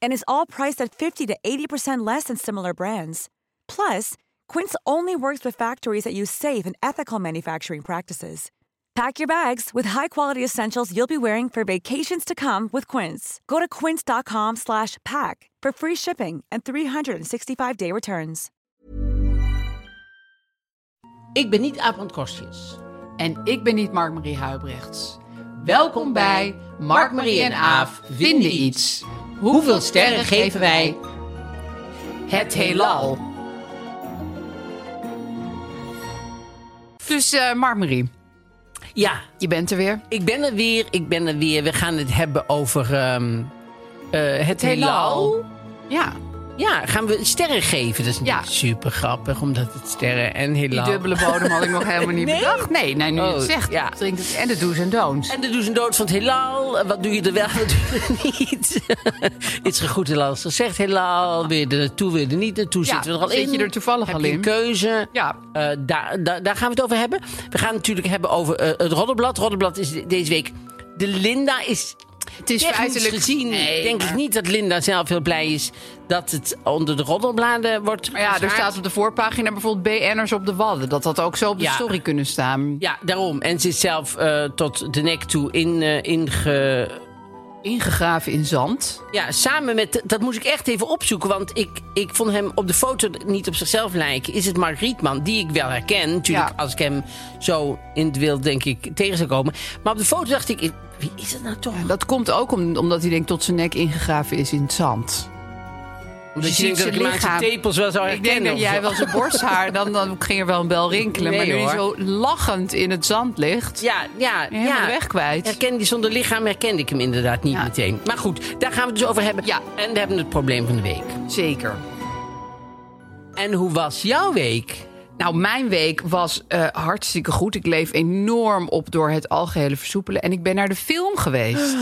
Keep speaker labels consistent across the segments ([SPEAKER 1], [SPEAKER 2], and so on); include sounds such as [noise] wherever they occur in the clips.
[SPEAKER 1] And is all priced at 50 to 80% less than similar brands. Plus, Quince only works with factories that use safe and ethical manufacturing practices. Pack your bags with high-quality essentials you'll be wearing for vacations to come with Quince. Go to quince.com/pack for free shipping and 365-day returns.
[SPEAKER 2] Ik ben niet Aaf van Kostjes.
[SPEAKER 3] En ik ben niet Mark-Marie Huibrechts. Welkom bij Mark-Marie en Aaf vinden iets. Hoeveel sterren geven wij het heelal? Dus eh Mark-Marie,
[SPEAKER 2] Ja,
[SPEAKER 3] je bent er weer.
[SPEAKER 2] ik ben er weer, ik ben er weer. We gaan het hebben over ehm, eh, het heelal.
[SPEAKER 3] Ja,
[SPEAKER 2] Ja, gaan we sterren geven. Dat is
[SPEAKER 3] Ja.
[SPEAKER 2] natuurlijk super grappig, omdat het sterren en
[SPEAKER 3] die
[SPEAKER 2] heelal...
[SPEAKER 3] dubbele bodem had ik nog helemaal niet bedacht. [laughs] Nee, nee nu je
[SPEAKER 2] Oh,
[SPEAKER 3] het zegt,
[SPEAKER 2] ja.
[SPEAKER 3] drinkt het en de do's en don'ts.
[SPEAKER 2] En de do's en doods van het heelal. Eh, Wat doe je er wel, [laughs] wat doe je er niet? [laughs] het is goed heelal is gezegd. Heelal, wil je er naartoe, wil je er niet naartoe?
[SPEAKER 3] Ja,
[SPEAKER 2] Zitten we er al
[SPEAKER 3] zit
[SPEAKER 2] in?
[SPEAKER 3] je er toevallig
[SPEAKER 2] Heb
[SPEAKER 3] al
[SPEAKER 2] je
[SPEAKER 3] in?
[SPEAKER 2] een keuze?
[SPEAKER 3] Ja.
[SPEAKER 2] Eh, daar, daar, daar gaan we het over hebben. We gaan het natuurlijk hebben over eh, het Roddelblad. Roddelblad is de- deze week... De Linda is...
[SPEAKER 3] Het is
[SPEAKER 2] Technisch
[SPEAKER 3] feitelijk
[SPEAKER 2] gezien
[SPEAKER 3] Nee,
[SPEAKER 2] denk
[SPEAKER 3] maar-
[SPEAKER 2] ik niet dat Linda zelf heel blij is dat het onder de roddelbladen wordt
[SPEAKER 3] Maar ja, er
[SPEAKER 2] geschaard.
[SPEAKER 3] staat op de voorpagina bijvoorbeeld BN'ers op de wadden. Dat had ook zo op de
[SPEAKER 2] Ja.
[SPEAKER 3] story kunnen staan.
[SPEAKER 2] Ja, daarom. En ze is zelf eh, tot de nek toe in, eh, inge,
[SPEAKER 3] Ingegraven in zand.
[SPEAKER 2] Ja, samen met... Dat moest ik echt even opzoeken, want ik, ik vond hem op de foto niet op zichzelf lijken. Is het Mark Rietman, die ik wel herken. Natuurlijk,
[SPEAKER 3] Ja.
[SPEAKER 2] als ik hem zo in het wild, denk ik, tegen zou komen. Maar op de foto dacht ik, wie is het nou toch?
[SPEAKER 3] Dat komt ook om- omdat hij denk ik, tot zijn nek ingegraven is in het zand.
[SPEAKER 2] Omdat
[SPEAKER 3] je
[SPEAKER 2] je denkt
[SPEAKER 3] ziet
[SPEAKER 2] dat ik
[SPEAKER 3] zijn
[SPEAKER 2] hem aan zijn
[SPEAKER 3] lichaam.
[SPEAKER 2] tepels wel zou
[SPEAKER 3] Ik denk
[SPEAKER 2] herkennen.
[SPEAKER 3] dat
[SPEAKER 2] of
[SPEAKER 3] jij
[SPEAKER 2] zo.
[SPEAKER 3] wel zijn borsthaar, dan, dan ging er wel een bel rinkelen. maar nu
[SPEAKER 2] Nee,
[SPEAKER 3] hij zo
[SPEAKER 2] hoor.
[SPEAKER 3] lachend in het zand ligt,
[SPEAKER 2] Ja, ja,
[SPEAKER 3] helemaal
[SPEAKER 2] ja.
[SPEAKER 3] de weg kwijt.
[SPEAKER 2] Herken die zonder lichaam herkende ik hem inderdaad niet
[SPEAKER 3] Ja.
[SPEAKER 2] meteen. Maar goed, daar gaan we het dus over hebben.
[SPEAKER 3] Ja.
[SPEAKER 2] En we hebben het probleem van de week.
[SPEAKER 3] Zeker.
[SPEAKER 2] En hoe was jouw week?
[SPEAKER 3] Nou, mijn week was eh, hartstikke goed. Ik leef enorm op door het algehele versoepelen. En ik ben naar de film
[SPEAKER 2] [gasps]
[SPEAKER 3] geweest.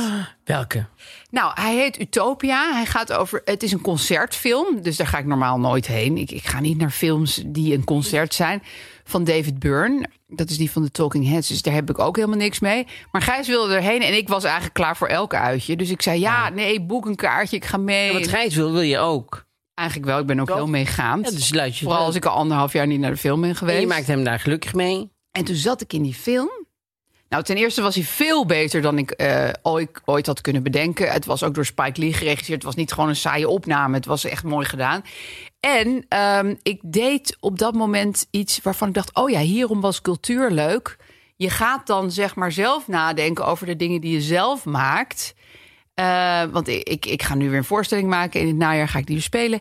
[SPEAKER 2] Welke?
[SPEAKER 3] Nou, hij heet Utopia. Hij gaat over. Het is een concertfilm. Dus daar ga ik normaal nooit heen. Ik, ik ga niet naar films die een concert zijn. Van David Byrne. Dat is die van de Talking Heads. Dus daar heb ik ook helemaal niks mee. Maar Gijs wilde erheen en ik was eigenlijk klaar voor elke uitje. Dus ik zei: Ja, nee, boek een kaartje. Ik ga mee.
[SPEAKER 2] Wat Gijs wil, wil je ook.
[SPEAKER 3] eigenlijk wel. Ik ben ook heel meegaand.
[SPEAKER 2] Ja, dus luid je
[SPEAKER 3] Vooral
[SPEAKER 2] wel.
[SPEAKER 3] als ik al anderhalf jaar niet naar de film ben
[SPEAKER 2] En
[SPEAKER 3] geweest.
[SPEAKER 2] je maakt hem daar gelukkig mee.
[SPEAKER 3] En toen zat ik in die film. Nou, ten eerste was hij veel beter dan ik eh, ooit, ooit had kunnen bedenken. Het was ook door Spike Lee geregisseerd. Het was niet gewoon een saaie opname. Het was echt mooi gedaan. En ehm, ik deed op dat moment iets waarvan ik dacht: oh ja, hierom was cultuur leuk. Je gaat dan zeg maar zelf nadenken over de dingen die je zelf maakt. Eh, want ik, ik, ik ga nu weer een voorstelling maken. In het najaar ga ik die weer spelen.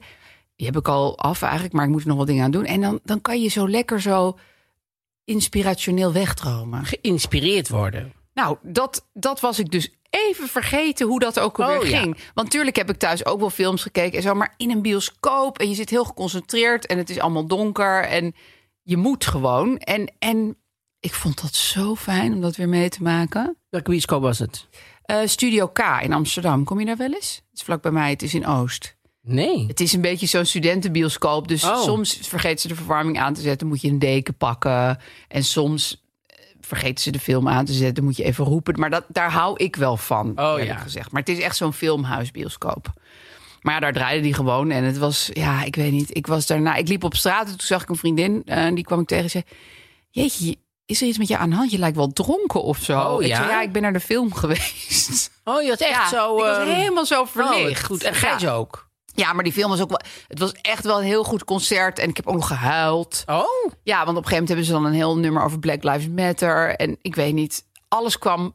[SPEAKER 3] Die heb ik al af eigenlijk, maar ik moet er nog wat dingen aan doen. En dan, dan kan je zo lekker zo inspirationeel wegdromen.
[SPEAKER 2] geïnspireerd worden.
[SPEAKER 3] Nou, dat, dat was ik dus even vergeten hoe dat ook alweer
[SPEAKER 2] Oh, ja.
[SPEAKER 3] ging. Want tuurlijk heb ik thuis ook wel films gekeken en zo, maar in een bioscoop en je zit heel geconcentreerd en het is allemaal donker en je moet gewoon. En, en ik vond dat zo fijn om dat weer mee te maken.
[SPEAKER 2] Welke bioscoop was het?
[SPEAKER 3] Eh, Studio K in Amsterdam, kom je daar wel eens? Het is vlak bij mij, het is in Oost.
[SPEAKER 2] Nee.
[SPEAKER 3] Het is een beetje zo'n studentenbioscoop. Dus
[SPEAKER 2] Oh.
[SPEAKER 3] soms vergeet ze de verwarming aan te zetten. Moet je een deken pakken. En soms eh, vergeten ze de film aan te zetten. Moet je even roepen. Maar dat, daar hou ik wel van.
[SPEAKER 2] Oh,
[SPEAKER 3] eerlijk
[SPEAKER 2] ja.
[SPEAKER 3] gezegd. Maar het is echt zo'n filmhuisbioscoop. Maar ja, daar draaide die gewoon. En het was, ja, ik weet niet. Ik was daarna. Ik liep op straat. En toen zag ik een vriendin. eh, En die kwam ik tegen. En zei: Jeetje, is er iets met je aan de hand? Je lijkt wel dronken of zo.
[SPEAKER 2] Oh,
[SPEAKER 3] ik
[SPEAKER 2] ja?
[SPEAKER 3] zei: Ja, ik ben naar de film [laughs] geweest.
[SPEAKER 2] Oh, je had echt
[SPEAKER 3] Ja,
[SPEAKER 2] zo...
[SPEAKER 3] ik was
[SPEAKER 2] ehm,
[SPEAKER 3] helemaal zo
[SPEAKER 2] oh, wat
[SPEAKER 3] verlicht.
[SPEAKER 2] goed. En
[SPEAKER 3] Ja.
[SPEAKER 2] Gijs ook.
[SPEAKER 3] Ja, maar die film was ook wel. Het was echt wel een heel goed concert. En ik heb ook nog gehuild.
[SPEAKER 2] Oh.
[SPEAKER 3] Ja, want op een gegeven moment hebben ze dan een heel nummer over Black Lives Matter. En ik weet niet. Alles kwam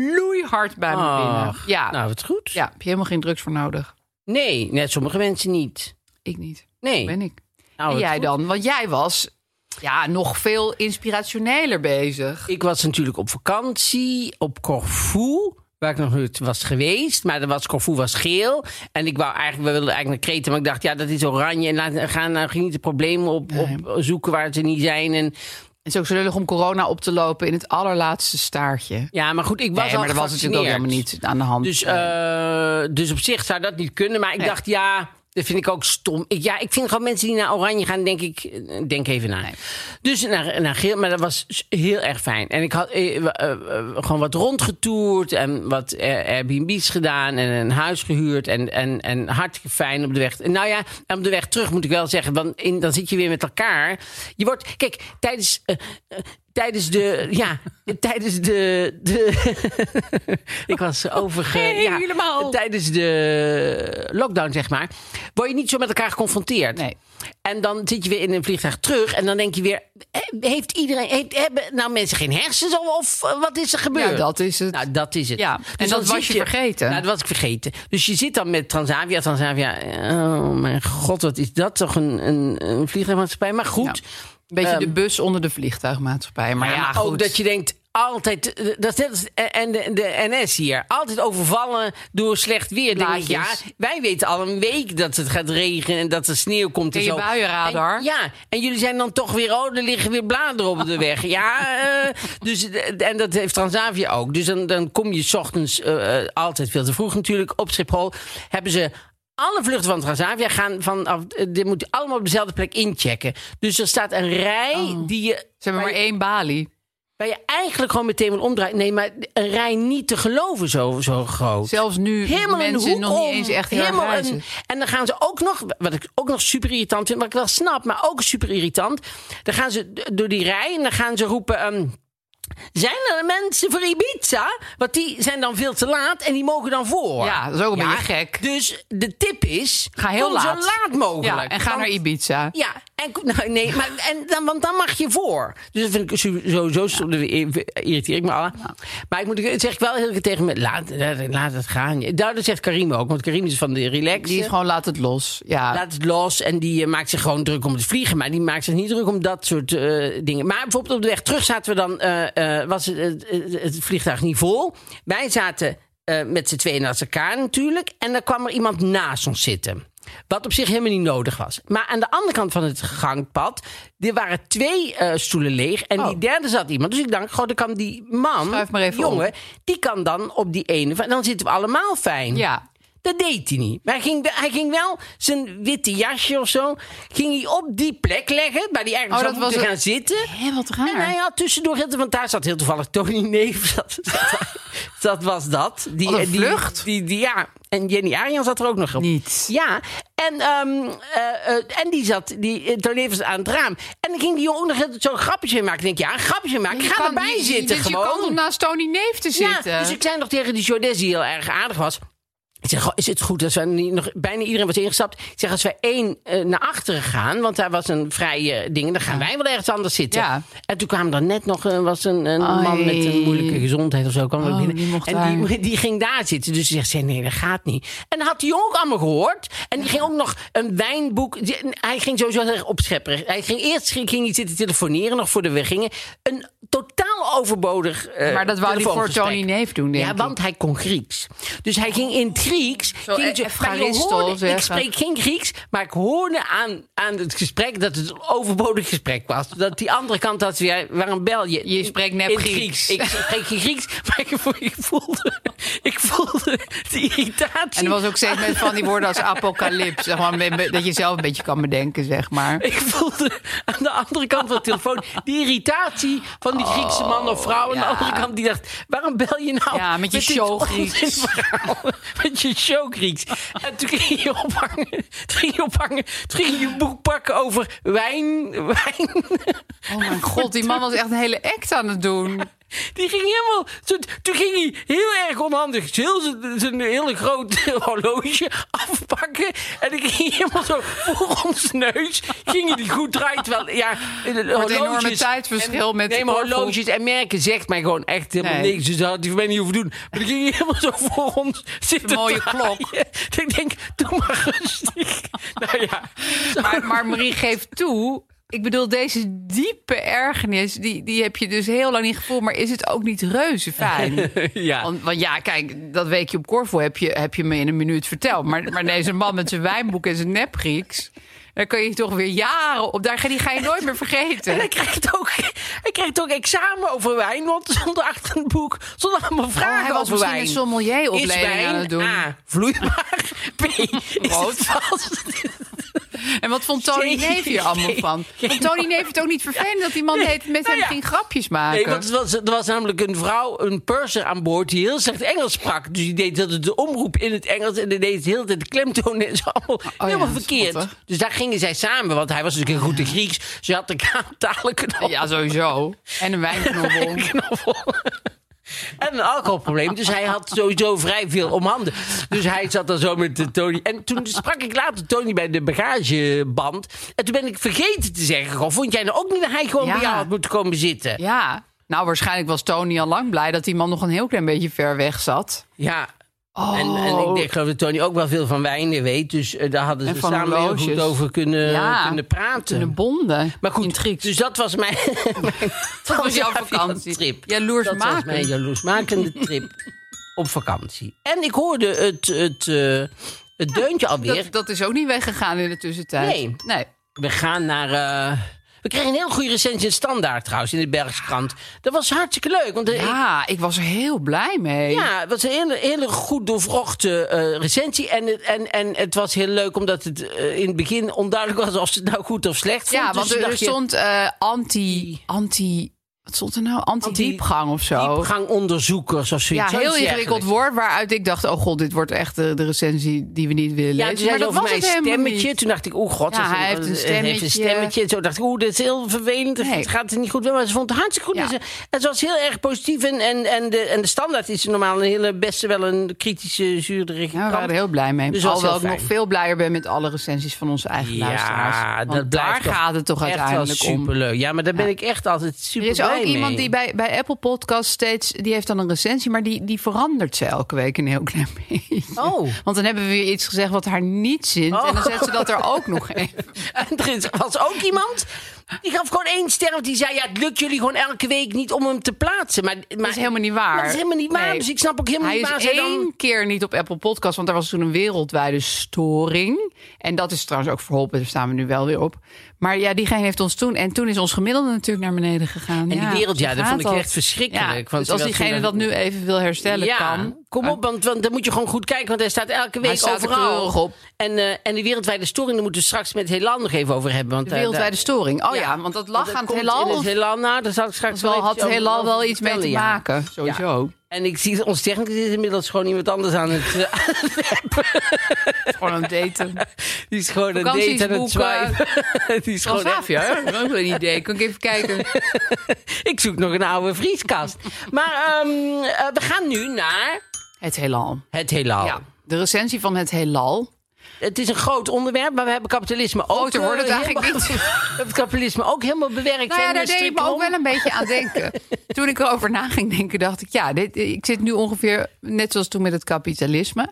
[SPEAKER 3] loeihard bij me binnen.
[SPEAKER 2] Ach,
[SPEAKER 3] Ja,
[SPEAKER 2] Nou, wat goed.
[SPEAKER 3] ja, heb je helemaal geen drugs voor nodig.
[SPEAKER 2] Nee, net sommige mensen niet.
[SPEAKER 3] Ik niet.
[SPEAKER 2] Nee.
[SPEAKER 3] Ben ik.
[SPEAKER 2] Nou,
[SPEAKER 3] en
[SPEAKER 2] wat
[SPEAKER 3] jij
[SPEAKER 2] goed.
[SPEAKER 3] dan? Want jij was ja, nog veel inspirationeler bezig.
[SPEAKER 2] Ik was natuurlijk op vakantie op Corfu. waar ik nog nooit was geweest. Maar dat was, Corfu was geel. En ik wou eigenlijk, we wilden eigenlijk naar Kreta. Maar ik dacht, ja, dat is oranje. En laat, gaan nou geen niet de problemen op, op zoeken waar ze niet zijn. En,
[SPEAKER 3] Het is ook zo lullig om corona op te lopen in het allerlaatste staartje.
[SPEAKER 2] ja, maar goed, ik was
[SPEAKER 3] Nee,
[SPEAKER 2] al
[SPEAKER 3] maar dat was natuurlijk ook
[SPEAKER 2] gevaccineerd.
[SPEAKER 3] helemaal niet aan de hand.
[SPEAKER 2] Dus, eh, dus op zich zou dat niet kunnen. Maar ik dacht, ja, dat vind ik ook stom. Ik, ja, ik vind gewoon mensen die naar Oranje gaan, denk ik, eh, denk even na. Dus naar, naar Geel, maar dat was s- heel erg fijn. En ik had eh, w- eh, eh, gewoon wat rondgetoerd en wat eh, Airbnb's gedaan en een huis gehuurd. En, en, en hartstikke fijn op de weg. En nou ja, en op de weg terug moet ik wel zeggen, want in, dan zit je weer met elkaar. Je wordt, kijk, tijdens. eh, eh, Tijdens de. Ja, tijdens de. de [laughs] ik was overge. ja,
[SPEAKER 3] Oh, Helemaal.
[SPEAKER 2] Tijdens de lockdown, zeg maar. Word je niet zo met elkaar geconfronteerd.
[SPEAKER 3] Nee.
[SPEAKER 2] En dan zit je weer in een vliegtuig terug. En dan denk je weer. he- Heeft iedereen. Heeft, hebben nou mensen geen hersens? Of, of, eh, wat is er gebeurd?
[SPEAKER 3] Ja, dat is het.
[SPEAKER 2] Nou, dat is het.
[SPEAKER 3] Ja,
[SPEAKER 2] dan
[SPEAKER 3] en dat was
[SPEAKER 2] zit
[SPEAKER 3] je vergeten.
[SPEAKER 2] Nou, dat was ik vergeten. Dus je zit dan met Transavia. Transavia, oh mijn god, wat is dat toch een, een, een vliegtuigmaatschappij? Maar goed.
[SPEAKER 3] Een beetje
[SPEAKER 2] Ehm,
[SPEAKER 3] de bus onder de vliegtuigmaatschappij. Maar ja,
[SPEAKER 2] maar
[SPEAKER 3] goed.
[SPEAKER 2] ook dat je denkt, altijd, eh, dat is net als- eh, en de, de NS hier, altijd overvallen door slecht weer. Denk ik, ja,
[SPEAKER 3] Blaadjes.
[SPEAKER 2] wij weten al een week dat het gaat regenen en dat er sneeuw komt en
[SPEAKER 3] En je
[SPEAKER 2] zo.
[SPEAKER 3] buienradar.
[SPEAKER 2] En- ja, en jullie zijn dan toch weer, oh, er liggen weer bladeren op
[SPEAKER 3] [laughs]
[SPEAKER 2] de weg. Ja, eh, dus, eh, en dat heeft Transavia ook. Dus dan, dan kom je 's ochtends eh, eh, altijd veel te vroeg natuurlijk op Schiphol. Hebben ze... Alle vluchten van Transavia gaan vanaf. eh, Dit moet je allemaal op dezelfde plek inchecken. Dus er staat een rij
[SPEAKER 3] Oh.
[SPEAKER 2] die je
[SPEAKER 3] Ze hebben maar één balie.
[SPEAKER 2] Waar je eigenlijk gewoon meteen wil omdraaien. Nee, maar een rij niet te geloven zo, zo groot.
[SPEAKER 3] Zelfs nu
[SPEAKER 2] Helemaal een
[SPEAKER 3] mensen
[SPEAKER 2] hoek
[SPEAKER 3] nog
[SPEAKER 2] om.
[SPEAKER 3] niet eens echt heel erg
[SPEAKER 2] Helemaal
[SPEAKER 3] reizen.
[SPEAKER 2] een- En dan gaan ze ook nog, wat ik ook nog super irritant vind, wat ik wel snap, maar ook super irritant. Dan gaan ze d- door die rij en dan gaan ze roepen. ehm, zijn er mensen voor Ibiza? Want die zijn dan veel te laat en die mogen dan voor.
[SPEAKER 3] Ja, dat is ook een beetje gek.
[SPEAKER 2] Dus de tip is:
[SPEAKER 3] Ga heel
[SPEAKER 2] kom zo
[SPEAKER 3] laat.
[SPEAKER 2] laat mogelijk.
[SPEAKER 3] Ja, en ga
[SPEAKER 2] Want-
[SPEAKER 3] naar Ibiza.
[SPEAKER 2] ja, en, ko- [laughs] nou, nee, maar, en dan, want dan mag je voor. Dus dat vind ik sowieso, sowieso irriteer ik me al. aan. Maar ik moet dat zeg ik wel heel erg tegen me, laat, laat, laat het gaan. Nou, dat zegt Karim ook, want Karim is van de relax.
[SPEAKER 3] Die is gewoon laat het los. Ja.
[SPEAKER 2] Laat het los en die eh, maakt zich gewoon druk om het vliegen. Maar die maakt zich niet druk om dat soort eh, dingen. Maar bijvoorbeeld op de weg terug zaten we dan... eh, eh, was het, het- het, het vliegtuig niet vol. Wij zaten eh, met z'n tweeën naast elkaar natuurlijk. En dan kwam er iemand naast ons zitten. Wat op zich helemaal niet nodig was. Maar aan de andere kant van het gangpad... er waren twee eh, stoelen leeg. En die derde zat iemand. Dus ik dacht, goh, dan kan die man,
[SPEAKER 3] Oh. Schuif maar even
[SPEAKER 2] jongen... die kan dan op die ene... En dan zitten we allemaal fijn.
[SPEAKER 3] Ja.
[SPEAKER 2] Dat deed hij niet. Maar hij ging, hij ging wel zijn witte jasje of zo... ging hij op die plek leggen... waar hij
[SPEAKER 3] Oh,
[SPEAKER 2] eigenlijk
[SPEAKER 3] dat
[SPEAKER 2] zou moeten
[SPEAKER 3] was Ah.
[SPEAKER 2] gaan
[SPEAKER 3] het-
[SPEAKER 2] zitten.
[SPEAKER 3] Hé, wat raar.
[SPEAKER 2] En hij had tussendoor... heel te- want daar zat heel toevallig Tony Neef. [laughs] Dat, dat was dat. Die,
[SPEAKER 3] Wat een
[SPEAKER 2] die-
[SPEAKER 3] vlucht.
[SPEAKER 2] Die, die, ja. En Jenny Arian zat er ook nog op.
[SPEAKER 3] Niet.
[SPEAKER 2] Ja. En, ehm, eh, eh, en die zat... Die, eh, Tony Neef was aan het raam. En dan ging die jongen ook nog heel- zo'n grappetje maken. Ik denk, ja, een grappetje maken.
[SPEAKER 3] Je
[SPEAKER 2] Ga
[SPEAKER 3] kan-
[SPEAKER 2] erbij
[SPEAKER 3] je- je-
[SPEAKER 2] zitten
[SPEAKER 3] dus
[SPEAKER 2] gewoon.
[SPEAKER 3] Je kan om naast Tony Neef te zitten.
[SPEAKER 2] Ja, dus ik zei nog tegen die Jordès die heel erg aardig was. Ik zeg, goh, is het goed dat we niet nog... Bijna iedereen was ingestapt. Ik zeg, als wij één eh, naar achteren gaan... want daar was een vrije ding... dan gaan wij wel ergens anders zitten.
[SPEAKER 3] Ja.
[SPEAKER 2] En toen kwam er net nog eh, was een, een
[SPEAKER 3] Ai.
[SPEAKER 2] man met een moeilijke gezondheid of zo. Kwam er
[SPEAKER 3] Oh,
[SPEAKER 2] binnen.
[SPEAKER 3] die mocht
[SPEAKER 2] en die,
[SPEAKER 3] daar.
[SPEAKER 2] [laughs] die ging daar zitten. Dus ze zegt, ze, nee, dat gaat niet. En dat had die jongen ook allemaal gehoord. En die ging ook nog een wijnboek... die- Hij ging sowieso heel erg opschepperig. Hij ging eerst ging, ging hij zitten telefoneren nog voordat we gingen. Een totaal overbodig eh,
[SPEAKER 3] maar dat wou hij voor
[SPEAKER 2] telefoongesprek.
[SPEAKER 3] Tony Neef doen, denk
[SPEAKER 2] Ja,
[SPEAKER 3] ik.
[SPEAKER 2] want hij kon Grieks. Dus hij ging in het Grieks. ging
[SPEAKER 3] eh,
[SPEAKER 2] zo- maar je
[SPEAKER 3] Evcharisto
[SPEAKER 2] hoorde- ik
[SPEAKER 3] zeggen.
[SPEAKER 2] spreek geen Grieks, maar ik hoorde aan, aan het gesprek dat het een overbodig gesprek was. Dat die andere kant had, ja, waarom bel je?
[SPEAKER 3] Je spreekt nep
[SPEAKER 2] In
[SPEAKER 3] Grieks.
[SPEAKER 2] Ik spreek geen Grieks, [laughs] maar ik vo- ik voelde, ik voelde de irritatie.
[SPEAKER 3] En er was ook steeds met van die
[SPEAKER 2] [laughs]
[SPEAKER 3] woorden als apocalyps. Zeg maar, met- met- dat je zelf een beetje kan bedenken, zeg maar.
[SPEAKER 2] Ik voelde aan de andere kant van de telefoon die irritatie van die Griekse man of vrouw. Aan
[SPEAKER 3] Oh, ja.
[SPEAKER 2] de andere kant die dacht, waarom bel je nou?
[SPEAKER 3] Ja, met je
[SPEAKER 2] dit
[SPEAKER 3] showgrieks.
[SPEAKER 2] onzinverhaal? [laughs] Met je showgrieks. En toen ging je ophangen. Toen ging je ophangen. Toen ging je boek pakken over wijn. [laughs] wijn.
[SPEAKER 3] Oh mijn god, die man was echt een hele act aan het doen.
[SPEAKER 2] Die ging helemaal... Toen, toen ging hij heel erg onhandig heel zijn- zijn hele groot [laughs] horloge afpakken. En ik ging helemaal zo voor ons neus. Ging hij die goed draaien. Terwijl, ja,
[SPEAKER 3] Het enorme tijdverschil met...
[SPEAKER 2] Nee, maar
[SPEAKER 3] Corfu.
[SPEAKER 2] horloges en merken zegt mij gewoon echt helemaal
[SPEAKER 3] Nee.
[SPEAKER 2] niks. Dus dat had hij voor mij niet hoeven doen. Maar die ging helemaal zo voor ons zitten
[SPEAKER 3] Een mooie
[SPEAKER 2] draaien. [laughs] Dat
[SPEAKER 3] [laughs]
[SPEAKER 2] ik denk, doe maar rustig. nou ja.
[SPEAKER 3] Maar, maar Marie geeft toe... ik bedoel, deze diepe ergernis, die, die heb je dus heel lang niet gevoeld. Maar is het ook niet reuze [laughs] fijn?
[SPEAKER 2] Ja.
[SPEAKER 3] Want, want ja, kijk, dat weekje op Corfu heb je, heb je me in een minuut verteld. Maar, maar deze man met zijn wijnboek en zijn nep-Grieks... daar kun je toch weer jaren op... Daar, ga- die ga je nooit meer
[SPEAKER 2] En
[SPEAKER 3] [laughs] vergeten.
[SPEAKER 2] hij krijgt, ook, hij krijgt ook examen over wijn, want zonder achter een boek zonder allemaal vragen
[SPEAKER 3] Oh, hij was
[SPEAKER 2] over
[SPEAKER 3] misschien
[SPEAKER 2] wijn.
[SPEAKER 3] een sommelieropleiding
[SPEAKER 2] Is wijn
[SPEAKER 3] aan het doen.
[SPEAKER 2] A, vloeibaar. [laughs] B, rood.
[SPEAKER 3] En wat vond Tony
[SPEAKER 2] Jee,
[SPEAKER 3] Neef hier allemaal
[SPEAKER 2] jee,
[SPEAKER 3] [laughs] van?
[SPEAKER 2] jee,
[SPEAKER 3] Vond Tony Neef het ook niet vervelend dat die man
[SPEAKER 2] Nee,
[SPEAKER 3] deed met
[SPEAKER 2] nou
[SPEAKER 3] hem
[SPEAKER 2] ja.
[SPEAKER 3] ging grapjes maken?
[SPEAKER 2] Nee, want er was, er was namelijk een vrouw, een purser aan boord, die heel slecht Engels sprak. Dus die deed altijd de omroep in het Engels en die deed de hele tijd de klemtonen en zo. Allemaal helemaal
[SPEAKER 3] Oh ja, dat is
[SPEAKER 2] verkeerd.
[SPEAKER 3] grappig.
[SPEAKER 2] Dus daar gingen zij samen, want hij was natuurlijk een goed in Grieks. Ze had de ka- talenknobbel.
[SPEAKER 3] Ja, sowieso. En een [laughs] wijnknobbel.
[SPEAKER 2] Knuffel. En een alcoholprobleem. Dus hij had sowieso vrij veel om handen. Dus hij zat dan zo met eh, Tony. En toen sprak ik later Tony bij de bagageband. En toen ben ik vergeten te zeggen: goh, Vond jij nou ook niet dat hij gewoon
[SPEAKER 3] Ja.
[SPEAKER 2] bij jou had moeten komen zitten?
[SPEAKER 3] Ja. Nou, waarschijnlijk was Tony al lang blij dat die man nog een heel klein beetje ver weg zat.
[SPEAKER 2] Ja.
[SPEAKER 3] Oh.
[SPEAKER 2] En, en ik denk, geloof dat Tony ook wel veel van wijnen weet. Dus eh, daar hadden
[SPEAKER 3] En
[SPEAKER 2] ze
[SPEAKER 3] van
[SPEAKER 2] samen heel
[SPEAKER 3] horloges.
[SPEAKER 2] goed over kunnen,
[SPEAKER 3] Ja.
[SPEAKER 2] kunnen praten.
[SPEAKER 3] Een bonden.
[SPEAKER 2] maar
[SPEAKER 3] in het
[SPEAKER 2] [laughs] goed,
[SPEAKER 3] Grieks.
[SPEAKER 2] dus dat was mijn, [laughs] mijn
[SPEAKER 3] dat was jouw vakantie.
[SPEAKER 2] trip.
[SPEAKER 3] Jaloers
[SPEAKER 2] Dat was mijn
[SPEAKER 3] maken.
[SPEAKER 2] jaloersmakende trip op vakantie. En ik hoorde het, het, eh, het deuntje alweer.
[SPEAKER 3] Dat, dat is ook niet weggegaan in de tussentijd.
[SPEAKER 2] Nee.
[SPEAKER 3] nee.
[SPEAKER 2] We gaan naar... eh, we kregen een heel goede recensie in Standaard trouwens, in de Bergse krant. Dat was hartstikke leuk. Want eh,
[SPEAKER 3] Ja, ik was er heel blij mee.
[SPEAKER 2] Ja, het was een hele, hele goed doorvrochte eh, recensie. En, het- en, en het was heel leuk omdat het eh, in het begin onduidelijk was of ze het nou goed of slecht vond.
[SPEAKER 3] Ja, want
[SPEAKER 2] dus
[SPEAKER 3] er,
[SPEAKER 2] dacht je,
[SPEAKER 3] stond eh, anti, anti... Wat stond er nou? Anti-diepgang of zo.
[SPEAKER 2] diepgangonderzoekers of
[SPEAKER 3] Ja,
[SPEAKER 2] zoiets.
[SPEAKER 3] heel
[SPEAKER 2] Zoiets
[SPEAKER 3] ingewikkeld
[SPEAKER 2] dergelijks.
[SPEAKER 3] woord waaruit ik dacht... oh god, dit wordt echt de, de recensie die we niet willen
[SPEAKER 2] Ja, dus toen zei
[SPEAKER 3] lezen.
[SPEAKER 2] ze over
[SPEAKER 3] was
[SPEAKER 2] mijn
[SPEAKER 3] het helemaal
[SPEAKER 2] stemmetje.
[SPEAKER 3] niet.
[SPEAKER 2] Toen dacht ik, oeh god.
[SPEAKER 3] Ja,
[SPEAKER 2] dat is
[SPEAKER 3] hij heeft een
[SPEAKER 2] Heeft een
[SPEAKER 3] stemmetje.
[SPEAKER 2] stemmetje. En zo dacht ik, oeh, dit is heel vervelend.
[SPEAKER 3] Nee.
[SPEAKER 2] Het gaat er niet goed. mee. Maar ze vond het hartstikke goed.
[SPEAKER 3] Ja.
[SPEAKER 2] En, ze, en ze was heel erg positief. En, en, en, de, en de standaard is normaal een hele, best wel een kritische, zuurderige
[SPEAKER 3] Ja, we waren
[SPEAKER 2] krant.
[SPEAKER 3] er heel blij mee.
[SPEAKER 2] Dus dat was
[SPEAKER 3] Alhoewel
[SPEAKER 2] heel
[SPEAKER 3] ik
[SPEAKER 2] fijn.
[SPEAKER 3] nog veel blijer ben met alle recensies van onze eigen luisteraars. Want
[SPEAKER 2] dat
[SPEAKER 3] daar
[SPEAKER 2] blijft toch
[SPEAKER 3] gaat het toch
[SPEAKER 2] echt wel
[SPEAKER 3] uiteindelijk om.
[SPEAKER 2] superleuk. Ja, maar daar ben ik echt altijd super
[SPEAKER 3] Er is
[SPEAKER 2] blij
[SPEAKER 3] ook iemand
[SPEAKER 2] mee.
[SPEAKER 3] die bij, bij Apple Podcast steeds... die heeft dan een recensie, maar die, die verandert ze elke week een heel klein [laughs] beetje.
[SPEAKER 2] Oh.
[SPEAKER 3] Want dan hebben we weer iets gezegd wat haar niet zint. En dan zet ze dat er ook nog even.
[SPEAKER 2] [laughs] En er is- was ook iemand die gaf gewoon één ster. Want die zei: Ja, het lukt jullie gewoon elke week niet om hem te plaatsen. Maar, maar
[SPEAKER 3] Dat is helemaal niet waar.
[SPEAKER 2] Maar dat is helemaal niet waar.
[SPEAKER 3] Nee.
[SPEAKER 2] Dus ik snap ook helemaal
[SPEAKER 3] Hij
[SPEAKER 2] niet waar
[SPEAKER 3] is
[SPEAKER 2] zij
[SPEAKER 3] één
[SPEAKER 2] dan.
[SPEAKER 3] keer niet op Apple Podcast, want daar was toen een wereldwijde storing. En dat is trouwens ook verholpen, daar staan we nu wel weer op. Maar ja, diegene heeft ons toen... En toen is ons gemiddelde natuurlijk naar beneden gegaan.
[SPEAKER 2] En die
[SPEAKER 3] ja,
[SPEAKER 2] wereld, ja,
[SPEAKER 3] zo
[SPEAKER 2] dat
[SPEAKER 3] gaat
[SPEAKER 2] vond ik echt verschrikkelijk, want
[SPEAKER 3] dus als
[SPEAKER 2] terwijl
[SPEAKER 3] diegene
[SPEAKER 2] toen-
[SPEAKER 3] dat nu even wil herstellen,
[SPEAKER 2] ja,
[SPEAKER 3] kan...
[SPEAKER 2] kom op, want, want dan moet je gewoon goed kijken, want hij staat elke week
[SPEAKER 3] Hij staat er
[SPEAKER 2] overal.
[SPEAKER 3] keurig op.
[SPEAKER 2] En, eh, en die wereldwijde storing, daar moeten we straks met Helan nog even over hebben. Want, eh,
[SPEAKER 3] De
[SPEAKER 2] daar-
[SPEAKER 3] wereldwijde
[SPEAKER 2] daar-
[SPEAKER 3] storing. Oh ja, want dat lag aan het
[SPEAKER 2] komt
[SPEAKER 3] heelal.
[SPEAKER 2] in Het heelal, nou, daar zal ik straks
[SPEAKER 3] Dus wel had
[SPEAKER 2] eventjes
[SPEAKER 3] het
[SPEAKER 2] over-
[SPEAKER 3] heelal wel
[SPEAKER 2] over
[SPEAKER 3] iets mee te
[SPEAKER 2] vertellen, ja.
[SPEAKER 3] maken, sowieso.
[SPEAKER 2] En ik zie ons technicus is inmiddels gewoon iemand anders aan het.
[SPEAKER 3] [laughs]
[SPEAKER 2] eh,
[SPEAKER 3] Gewoon aan het daten.
[SPEAKER 2] die is gewoon een date aan het
[SPEAKER 3] Vakanties boeken.
[SPEAKER 2] zwijgen. [laughs] die is [laughs] gewoon.
[SPEAKER 3] Transavia, hè? Dat is ook wel een idee. Kan ik even kijken?
[SPEAKER 2] [laughs] Ik zoek nog een oude vrieskast. maar ehm, eh, we gaan nu naar
[SPEAKER 3] Het heelal.
[SPEAKER 2] het heelal.
[SPEAKER 3] Ja, de recensie van het heelal.
[SPEAKER 2] Het is een groot onderwerp, maar we hebben kapitalisme ook.
[SPEAKER 3] Groter wordt het
[SPEAKER 2] eh,
[SPEAKER 3] eigenlijk
[SPEAKER 2] helemaal-
[SPEAKER 3] [laughs] niet.
[SPEAKER 2] [laughs] We hebben het kapitalisme ook helemaal bewerkt.
[SPEAKER 3] Nou ja,
[SPEAKER 2] hè,
[SPEAKER 3] daar
[SPEAKER 2] met
[SPEAKER 3] deed ik me
[SPEAKER 2] striprom.
[SPEAKER 3] ook wel een beetje aan [laughs] denken. toen ik erover na ging denken, dacht ik... ja, dit, ik zit nu ongeveer net zoals toen met het kapitalisme.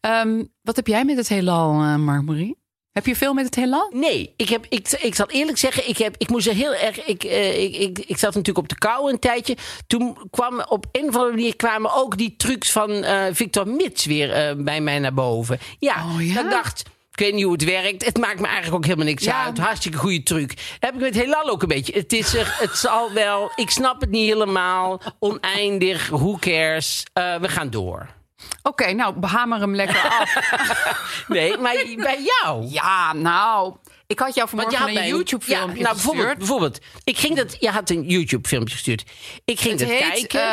[SPEAKER 3] Ehm, wat heb jij met het heelal, eh Marmarie? Heb je veel met het heelal?
[SPEAKER 2] Nee, ik, heb, ik, ik zal eerlijk zeggen, ik, heb, ik moest er heel erg. Ik, eh, ik, ik, ik zat natuurlijk op de kou een tijdje. Toen kwam op een of andere manier kwamen ook die trucs van eh, Victor Mits weer eh, bij mij naar boven. Ja,
[SPEAKER 3] Oh, ja?
[SPEAKER 2] dat ik dacht. Ik weet niet hoe het werkt. Het maakt me eigenlijk ook helemaal niks
[SPEAKER 3] Ja.
[SPEAKER 2] uit. Hartstikke goede truc. Heb ik met Helal ook een beetje. Het is er, het zal wel. Ik snap het niet helemaal. Oneindig, who cares. Eh, we gaan
[SPEAKER 3] [laughs]
[SPEAKER 2] door.
[SPEAKER 3] Oké, nou, behamer hem [laughs] lekker af.
[SPEAKER 2] Nee, maar bij jou.
[SPEAKER 3] ja, nou... Ik had jou vanmorgen
[SPEAKER 2] had
[SPEAKER 3] een
[SPEAKER 2] bij-
[SPEAKER 3] YouTube-filmpje
[SPEAKER 2] ja, nou, bijvoorbeeld,
[SPEAKER 3] gestuurd.
[SPEAKER 2] bijvoorbeeld, ik ging dat. Je had een YouTube-filmpje gestuurd. Ik ging
[SPEAKER 3] Het
[SPEAKER 2] dat
[SPEAKER 3] heet
[SPEAKER 2] kijken.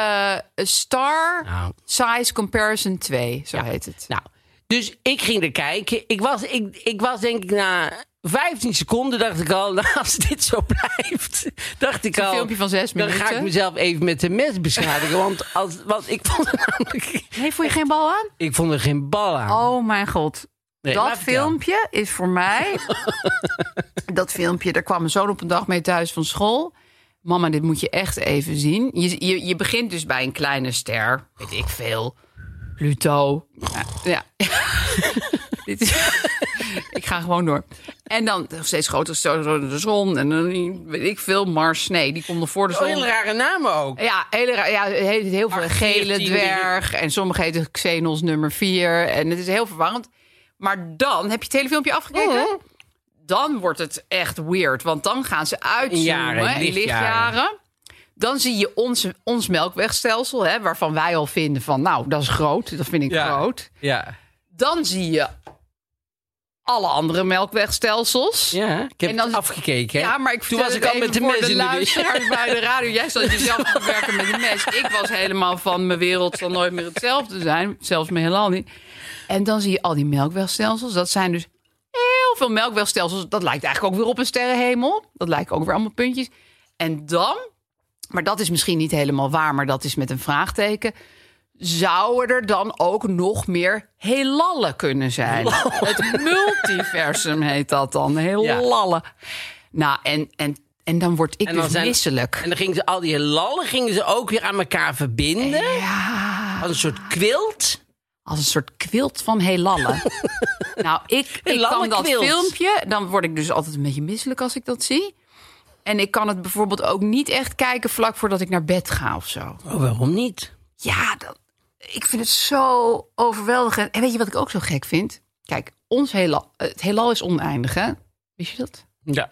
[SPEAKER 3] eh, Star
[SPEAKER 2] Nou.
[SPEAKER 3] Size Comparison 2, zo heet het.
[SPEAKER 2] Nou, dus ik ging er kijken. Ik was, ik, ik was denk ik na 15 seconden dacht ik al, [laughs] nou, als dit zo blijft, dacht ik al.
[SPEAKER 3] filmpje van zes
[SPEAKER 2] Dan ga ik
[SPEAKER 3] minuten.
[SPEAKER 2] mezelf even met de mes
[SPEAKER 3] [laughs]
[SPEAKER 2] beschadigen, want als, want ik vond er namelijk,
[SPEAKER 3] Nee, voel je geen bal aan?
[SPEAKER 2] ik vond er geen bal aan.
[SPEAKER 3] Oh mijn god.
[SPEAKER 2] Nee, maar
[SPEAKER 3] dat
[SPEAKER 2] vertel.
[SPEAKER 3] filmpje is voor
[SPEAKER 2] [laughs]
[SPEAKER 3] mij. dat filmpje, daar kwam mijn zoon op een dag mee thuis van school. Mama, dit moet je echt even zien. Je, je, je begint dus bij een kleine ster, weet ik [laughs] veel. Pluto. Ja. ja. Dit is- [laughs] ik ga ga gewoon door. En dan nog steeds groter zo- zo- de zon. En dan weet ik veel, Mars. Nee, die komt nog voor de
[SPEAKER 2] Oh,
[SPEAKER 3] zon.
[SPEAKER 2] hele rare namen ook.
[SPEAKER 3] Ja, hele, ra- ja, heel, heel veel
[SPEAKER 2] Acht,
[SPEAKER 3] gele
[SPEAKER 2] veertien
[SPEAKER 3] dwerg. En sommige heten Xenos nummer 4. En het is heel verwarrend. Maar dan heb je het hele filmpje afgekeken.
[SPEAKER 2] Mhm.
[SPEAKER 3] Dan wordt het echt weird. Want dan gaan ze uitzoomen in
[SPEAKER 2] Jaren,
[SPEAKER 3] lichtjaren.
[SPEAKER 2] lichtjaren.
[SPEAKER 3] Dan zie je ons, ons melkwegstelsel, hè, waarvan wij al vinden van... nou, dat is groot, dat vind ik groot.
[SPEAKER 2] Ja.
[SPEAKER 3] Dan zie je alle andere melkwegstelsels.
[SPEAKER 2] Ja, ik heb
[SPEAKER 3] En dan-
[SPEAKER 2] het afgekeken. hè.
[SPEAKER 3] Ja, maar ik
[SPEAKER 2] Toen was
[SPEAKER 3] vertel
[SPEAKER 2] ik al
[SPEAKER 3] het
[SPEAKER 2] met de mes
[SPEAKER 3] even voor
[SPEAKER 2] in de weer.
[SPEAKER 3] luisteraars
[SPEAKER 2] [laughs]
[SPEAKER 3] bij de radio. Jij zat jezelf te werken met een mes. Ik was helemaal van mijn wereld zal nooit meer hetzelfde zijn. Zelfs me helemaal niet. En dan zie je al die melkwegstelsels. Dat zijn dus heel veel melkwegstelsels. Dat lijkt eigenlijk ook weer op een sterrenhemel. Dat lijken ook weer allemaal puntjes. En dan, maar dat is misschien niet helemaal waar, maar dat is met een vraagteken. Zouden er dan ook nog meer heelallen kunnen zijn? Het multiversum heet dat dan. [laughs] Heelallen. Nou, en, en, en dan word ik
[SPEAKER 2] En dan
[SPEAKER 3] dus
[SPEAKER 2] zijn-
[SPEAKER 3] misselijk.
[SPEAKER 2] En dan gingen ze al die lallen gingen ze ook weer aan elkaar verbinden. Als een soort kwilt.
[SPEAKER 3] Als een soort kwilt van
[SPEAKER 2] [laughs]
[SPEAKER 3] heelallen. nou, ik, ik
[SPEAKER 2] Heelallen
[SPEAKER 3] kan dat
[SPEAKER 2] kwilt.
[SPEAKER 3] filmpje, dan word ik dus altijd een beetje misselijk als ik dat zie. En ik kan het bijvoorbeeld ook niet echt kijken vlak voordat ik naar bed ga of zo.
[SPEAKER 2] Oh, waarom niet?
[SPEAKER 3] Ja, dat, ik vind het zo overweldigend. En weet je wat ik ook zo gek vind? Kijk, ons heelal, het heelal is oneindig, hè? Wist je dat?
[SPEAKER 2] Ja.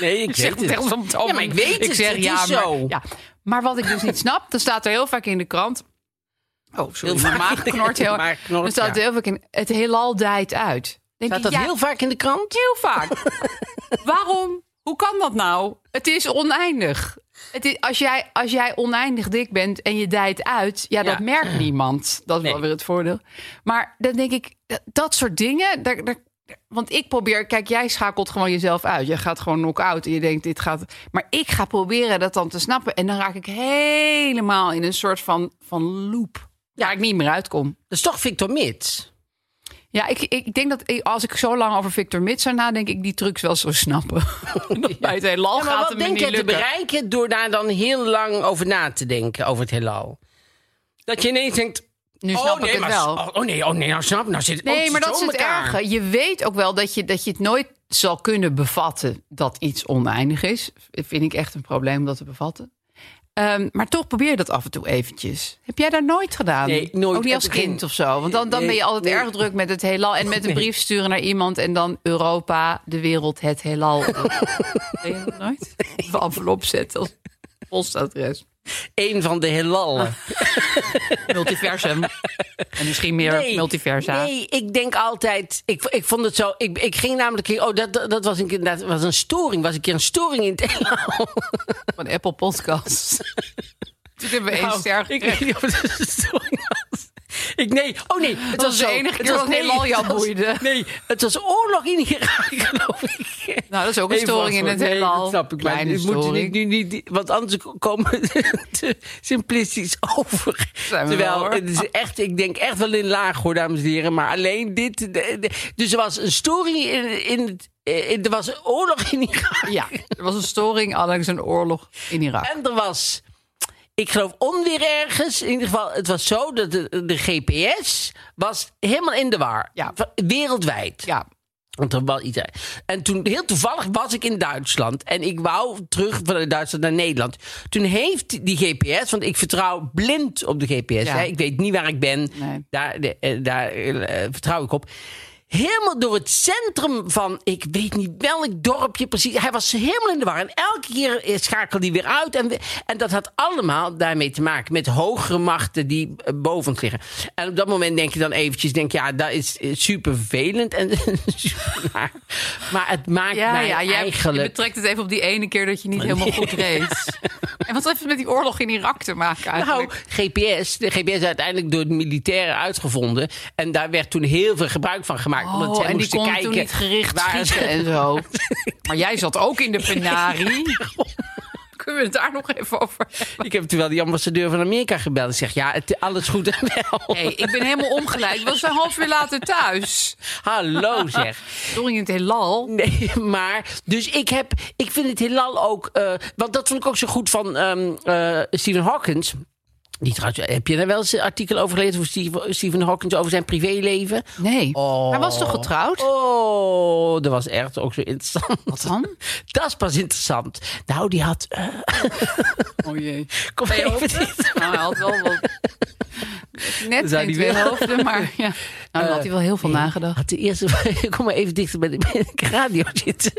[SPEAKER 2] Nee, [laughs] ik,
[SPEAKER 3] zeg
[SPEAKER 2] weet het.
[SPEAKER 3] het echt van
[SPEAKER 2] Ja, maar ik weet het.
[SPEAKER 3] zeg,
[SPEAKER 2] het
[SPEAKER 3] ja,
[SPEAKER 2] is
[SPEAKER 3] maar,
[SPEAKER 2] zo.
[SPEAKER 3] Ja. Maar wat ik dus niet snap, dan staat er heel vaak in de krant... Oh, sorry,
[SPEAKER 2] Heel
[SPEAKER 3] mijn
[SPEAKER 2] vaak.
[SPEAKER 3] maag
[SPEAKER 2] [laughs]
[SPEAKER 3] knort heel
[SPEAKER 2] Maag
[SPEAKER 3] erg.
[SPEAKER 2] knort,
[SPEAKER 3] Dan staat
[SPEAKER 2] ja.
[SPEAKER 3] er heel vaak in, het heelal dijt uit. Denk
[SPEAKER 2] Staat
[SPEAKER 3] ik,
[SPEAKER 2] dat
[SPEAKER 3] ja,
[SPEAKER 2] heel vaak in de krant?
[SPEAKER 3] heel
[SPEAKER 2] [laughs]
[SPEAKER 3] vaak. Waarom? Hoe kan dat nou? Het is oneindig. Het is, als, jij, als jij oneindig dik bent en je dijt uit, ja, dat
[SPEAKER 2] Ja.
[SPEAKER 3] merkt niemand. Dat is
[SPEAKER 2] Nee.
[SPEAKER 3] wel weer het voordeel. Maar dan denk ik, dat, dat soort dingen. Daar, daar, want ik probeer, kijk, jij schakelt gewoon jezelf uit. Je gaat gewoon knock-out en je denkt, dit gaat. Maar ik ga proberen dat dan te snappen. En dan raak ik helemaal in een soort van, van loop. Waar ik niet meer uitkom.
[SPEAKER 2] Dat is toch Victor Mits?
[SPEAKER 3] Ja, ik, ik denk dat ik- als ik zo lang over Victor Mits zou nadenken, ik die trucs wel zou snappen. [laughs] Bij het heelal
[SPEAKER 2] Ja, maar
[SPEAKER 3] gaat
[SPEAKER 2] wat
[SPEAKER 3] het me
[SPEAKER 2] denk
[SPEAKER 3] niet
[SPEAKER 2] je te
[SPEAKER 3] lukken.
[SPEAKER 2] bereiken door daar dan heel lang over na te denken, over het heelal? Dat je ineens denkt...
[SPEAKER 3] Nu
[SPEAKER 2] oh,
[SPEAKER 3] snap
[SPEAKER 2] nee,
[SPEAKER 3] ik het
[SPEAKER 2] maar-
[SPEAKER 3] wel.
[SPEAKER 2] Oh, oh nee, oh nee, nou snap nou zit oh,
[SPEAKER 3] nee,
[SPEAKER 2] zit
[SPEAKER 3] maar dat is
[SPEAKER 2] zo
[SPEAKER 3] het
[SPEAKER 2] in elkaar.
[SPEAKER 3] erge. Je weet ook wel dat je, dat je het nooit zal kunnen bevatten dat iets oneindig is. Vind ik echt een probleem om dat te bevatten. Ehm, maar toch probeer je dat af en toe eventjes. Heb jij dat nooit gedaan?
[SPEAKER 2] Nee, nooit.
[SPEAKER 3] Ook niet als
[SPEAKER 2] Op het begin-
[SPEAKER 3] kind of zo. Want dan, dan
[SPEAKER 2] Nee,
[SPEAKER 3] ben je altijd
[SPEAKER 2] nee.
[SPEAKER 3] erg druk met het heelal. En met een brief sturen naar iemand. En dan Europa, de wereld, het heelal.
[SPEAKER 2] [laughs]
[SPEAKER 3] Ben je dat nooit? Of envelop zetten als postadres.
[SPEAKER 2] Eén van de heelallen.
[SPEAKER 3] Multiversum. En misschien meer multiversa.
[SPEAKER 2] Nee, ik denk altijd. Ik, ik vond het zo. Ik, ik ging namelijk. een keer- Oh, dat, dat, dat was een, keer- dat was een storing. Was een keer een storing in het heelal.
[SPEAKER 3] Van Apple Podcasts. [laughs] Toen hebben we één
[SPEAKER 2] Nou,
[SPEAKER 3] ster
[SPEAKER 2] Ik
[SPEAKER 3] gekregen.
[SPEAKER 2] weet niet of het een storing was. Ik, nee, oh nee. Het
[SPEAKER 3] was de
[SPEAKER 2] zo.
[SPEAKER 3] enige
[SPEAKER 2] Het
[SPEAKER 3] keer
[SPEAKER 2] was-
[SPEAKER 3] dat heelal jou
[SPEAKER 2] het was-
[SPEAKER 3] boeide.
[SPEAKER 2] Nee, het was oorlog in Irak, [laughs] geloof ik.
[SPEAKER 3] Nou, dat is ook een
[SPEAKER 2] Even
[SPEAKER 3] storing in
[SPEAKER 2] wachten,
[SPEAKER 3] het
[SPEAKER 2] nee,
[SPEAKER 3] heelal.
[SPEAKER 2] dat snap ik. Maar
[SPEAKER 3] Kleine
[SPEAKER 2] dit moet je
[SPEAKER 3] storing.
[SPEAKER 2] niet, nu niet, want anders komen [laughs] we te simplistisch [laughs] over.
[SPEAKER 3] Zijn we
[SPEAKER 2] Terwijl,
[SPEAKER 3] wel, hoor.
[SPEAKER 2] het is echt, ik denk echt wel in laag, hoor, dames en heren. Maar alleen dit. de- de- dus er was een storing in, in het. eh, in- Er was oorlog in Irak.
[SPEAKER 3] Ja, er was een storing allengs een oorlog in Irak.
[SPEAKER 2] En er was, ik geloof, onweer ergens. In ieder geval, het was zo dat de, de GPS was helemaal in de war.
[SPEAKER 3] Ja.
[SPEAKER 2] Va- Wereldwijd.
[SPEAKER 3] Ja,
[SPEAKER 2] Want er was iets. En toen, heel toevallig, was ik in Duitsland. En ik wou terug vanuit Duitsland naar Nederland. Toen heeft die GPS, want ik vertrouw blind op de GPS.
[SPEAKER 3] Ja.
[SPEAKER 2] Hè? Ik weet niet waar ik ben.
[SPEAKER 3] Nee.
[SPEAKER 2] Daar, de- eh, daar eh, vertrouw ik op. Helemaal door het centrum van, ik weet niet welk dorpje precies. Hij was helemaal in de war. En elke keer eh, schakelde hij weer uit. En, we- en dat had allemaal daarmee te maken met hogere machten die eh, boven ons liggen. En op dat moment denk je dan eventjes, denk je, ja, dat is eh, super vervelend. En, [laughs] super naar. maar het maakt
[SPEAKER 3] ja,
[SPEAKER 2] mij
[SPEAKER 3] ja jij je
[SPEAKER 2] eigenlijk...
[SPEAKER 3] betrekt het even op die ene keer dat je niet helemaal goed [laughs] reed. En wat heeft het met die oorlog in Irak te maken
[SPEAKER 2] Nou,
[SPEAKER 3] eigenlijk?
[SPEAKER 2] GPS. De GPS is uiteindelijk door de militairen uitgevonden. En daar werd toen heel veel gebruik van gemaakt. omdat zij
[SPEAKER 3] oh, en die
[SPEAKER 2] moesten
[SPEAKER 3] kon
[SPEAKER 2] kijken
[SPEAKER 3] toen niet gericht
[SPEAKER 2] waar-
[SPEAKER 3] schieten en [laughs] zo. Maar jij zat ook in de [laughs] penarie. Kunnen we het daar nog even over hebben?
[SPEAKER 2] [laughs] Ik heb terwijl die ambassadeur van Amerika gebeld. en zeg, ja, het, alles goed en wel.
[SPEAKER 3] Hey, ik ben helemaal omgeleid. Ik was een half uur later thuis.
[SPEAKER 2] [laughs] Hallo zeg.
[SPEAKER 3] Storing in het heelal.
[SPEAKER 2] Nee, maar. Dus ik heb. Ik vind het heelal ook. eh, want dat vond ik ook zo goed van ehm, eh, Stephen Hawkins. Niet trouwens, heb je daar wel eens een artikel over gelezen over Steve- Stephen Hawking over zijn privéleven?
[SPEAKER 3] Nee.
[SPEAKER 2] Oh.
[SPEAKER 3] Hij was toch getrouwd?
[SPEAKER 2] Oh, dat was echt ook zo interessant.
[SPEAKER 3] Wat dan?
[SPEAKER 2] [laughs] Dat is pas interessant. Nou, die had. eh,
[SPEAKER 3] Oh jee.
[SPEAKER 2] kom even dit.
[SPEAKER 3] Nou, hij had wel wat... [laughs]
[SPEAKER 2] Zou
[SPEAKER 3] Net geen
[SPEAKER 2] die Eh,
[SPEAKER 3] twee
[SPEAKER 2] willen?
[SPEAKER 3] hoofden, maar ja. Nou, dan had hij wel heel veel
[SPEAKER 2] [laughs]
[SPEAKER 3] nagedacht.
[SPEAKER 2] Had de eerste, [laughs] kom maar even dichter bij de, bij de radio zitten.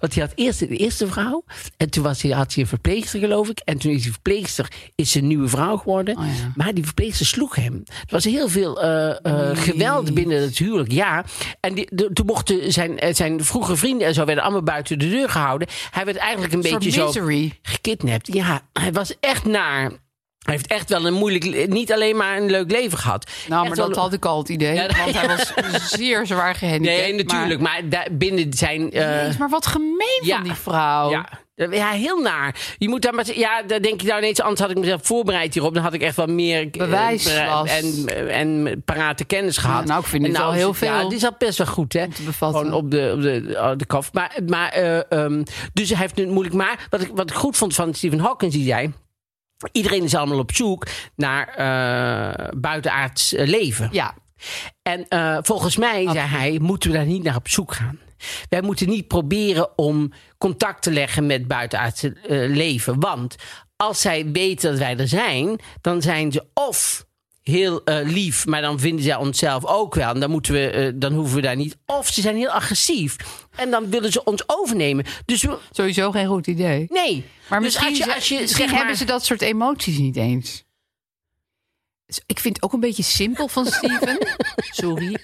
[SPEAKER 2] Want hij had eerst de eerste vrouw. En toen was hij, had hij een verpleegster, geloof ik. En toen is die verpleegster is zijn nieuwe vrouw geworden.
[SPEAKER 3] Oh ja. Oh,
[SPEAKER 2] Maar die verpleegster sloeg hem. Er was heel veel eh, eh, geweld binnen het huwelijk, ja. En die, de- toen mochten zijn, eh, zijn vroege vrienden en zo werden allemaal buiten de deur gehouden. Hij werd eigenlijk een
[SPEAKER 3] Een soort
[SPEAKER 2] beetje zo
[SPEAKER 3] misery.
[SPEAKER 2] gekidnapt. Ja, hij was echt naar. Hij heeft echt wel een moeilijk, le- niet alleen maar een leuk leven gehad.
[SPEAKER 3] Nou,
[SPEAKER 2] Echt
[SPEAKER 3] maar
[SPEAKER 2] wel-
[SPEAKER 3] dat had ik al het
[SPEAKER 2] [laughs]
[SPEAKER 3] idee.
[SPEAKER 2] Ja, dat-
[SPEAKER 3] Want hij was zeer zwaar gehandicapt.
[SPEAKER 2] Nee, natuurlijk. Maar, daar binnen zijn. eh,
[SPEAKER 3] Maar, Jezus, maar wat gemeen
[SPEAKER 2] ja.
[SPEAKER 3] van die vrouw.
[SPEAKER 2] ja. Nou, ja, heel naar. Je moet daar maar. Ja, daar denk je nou ineens. Anders had ik mezelf voorbereid hierop. Dan had ik echt wel meer. eh,
[SPEAKER 3] Bewijslast.
[SPEAKER 2] En, en, parate kennis gehad.
[SPEAKER 3] Ja, nou, ik vind
[SPEAKER 2] En
[SPEAKER 3] dit al heel
[SPEAKER 2] is het- Ja,
[SPEAKER 3] veel
[SPEAKER 2] dit is al best wel goed, hè?
[SPEAKER 3] te bevatten.
[SPEAKER 2] Gewoon op de, op de, op de kaf. Maar, maar eh, ehm, dus hij heeft het moeilijk. Maar wat ik, wat ik goed vond van Stephen Hawking, die zei. Iedereen is allemaal op zoek naar eh, buitenaards eh, leven.
[SPEAKER 3] Ja.
[SPEAKER 2] En eh, volgens mij, zei hij, moeten we daar niet naar op zoek gaan. Wij moeten niet proberen om contact te leggen met buitenaardse eh, leven. Want als zij weten dat wij er zijn, dan zijn ze of heel eh, lief, maar dan vinden zij onszelf ook wel. En dan, moeten we, eh, dan hoeven we daar niet. Of ze zijn heel agressief en dan willen ze ons overnemen. Dus we-
[SPEAKER 3] Sowieso geen goed idee.
[SPEAKER 2] nee.
[SPEAKER 3] Maar
[SPEAKER 2] dus
[SPEAKER 3] misschien,
[SPEAKER 2] als je, als je,
[SPEAKER 3] misschien
[SPEAKER 2] zeg maar-
[SPEAKER 3] hebben ze dat soort emoties niet eens. Dus Ik vind het ook een beetje simpel van Steven.
[SPEAKER 2] [laughs]
[SPEAKER 3] Sorry.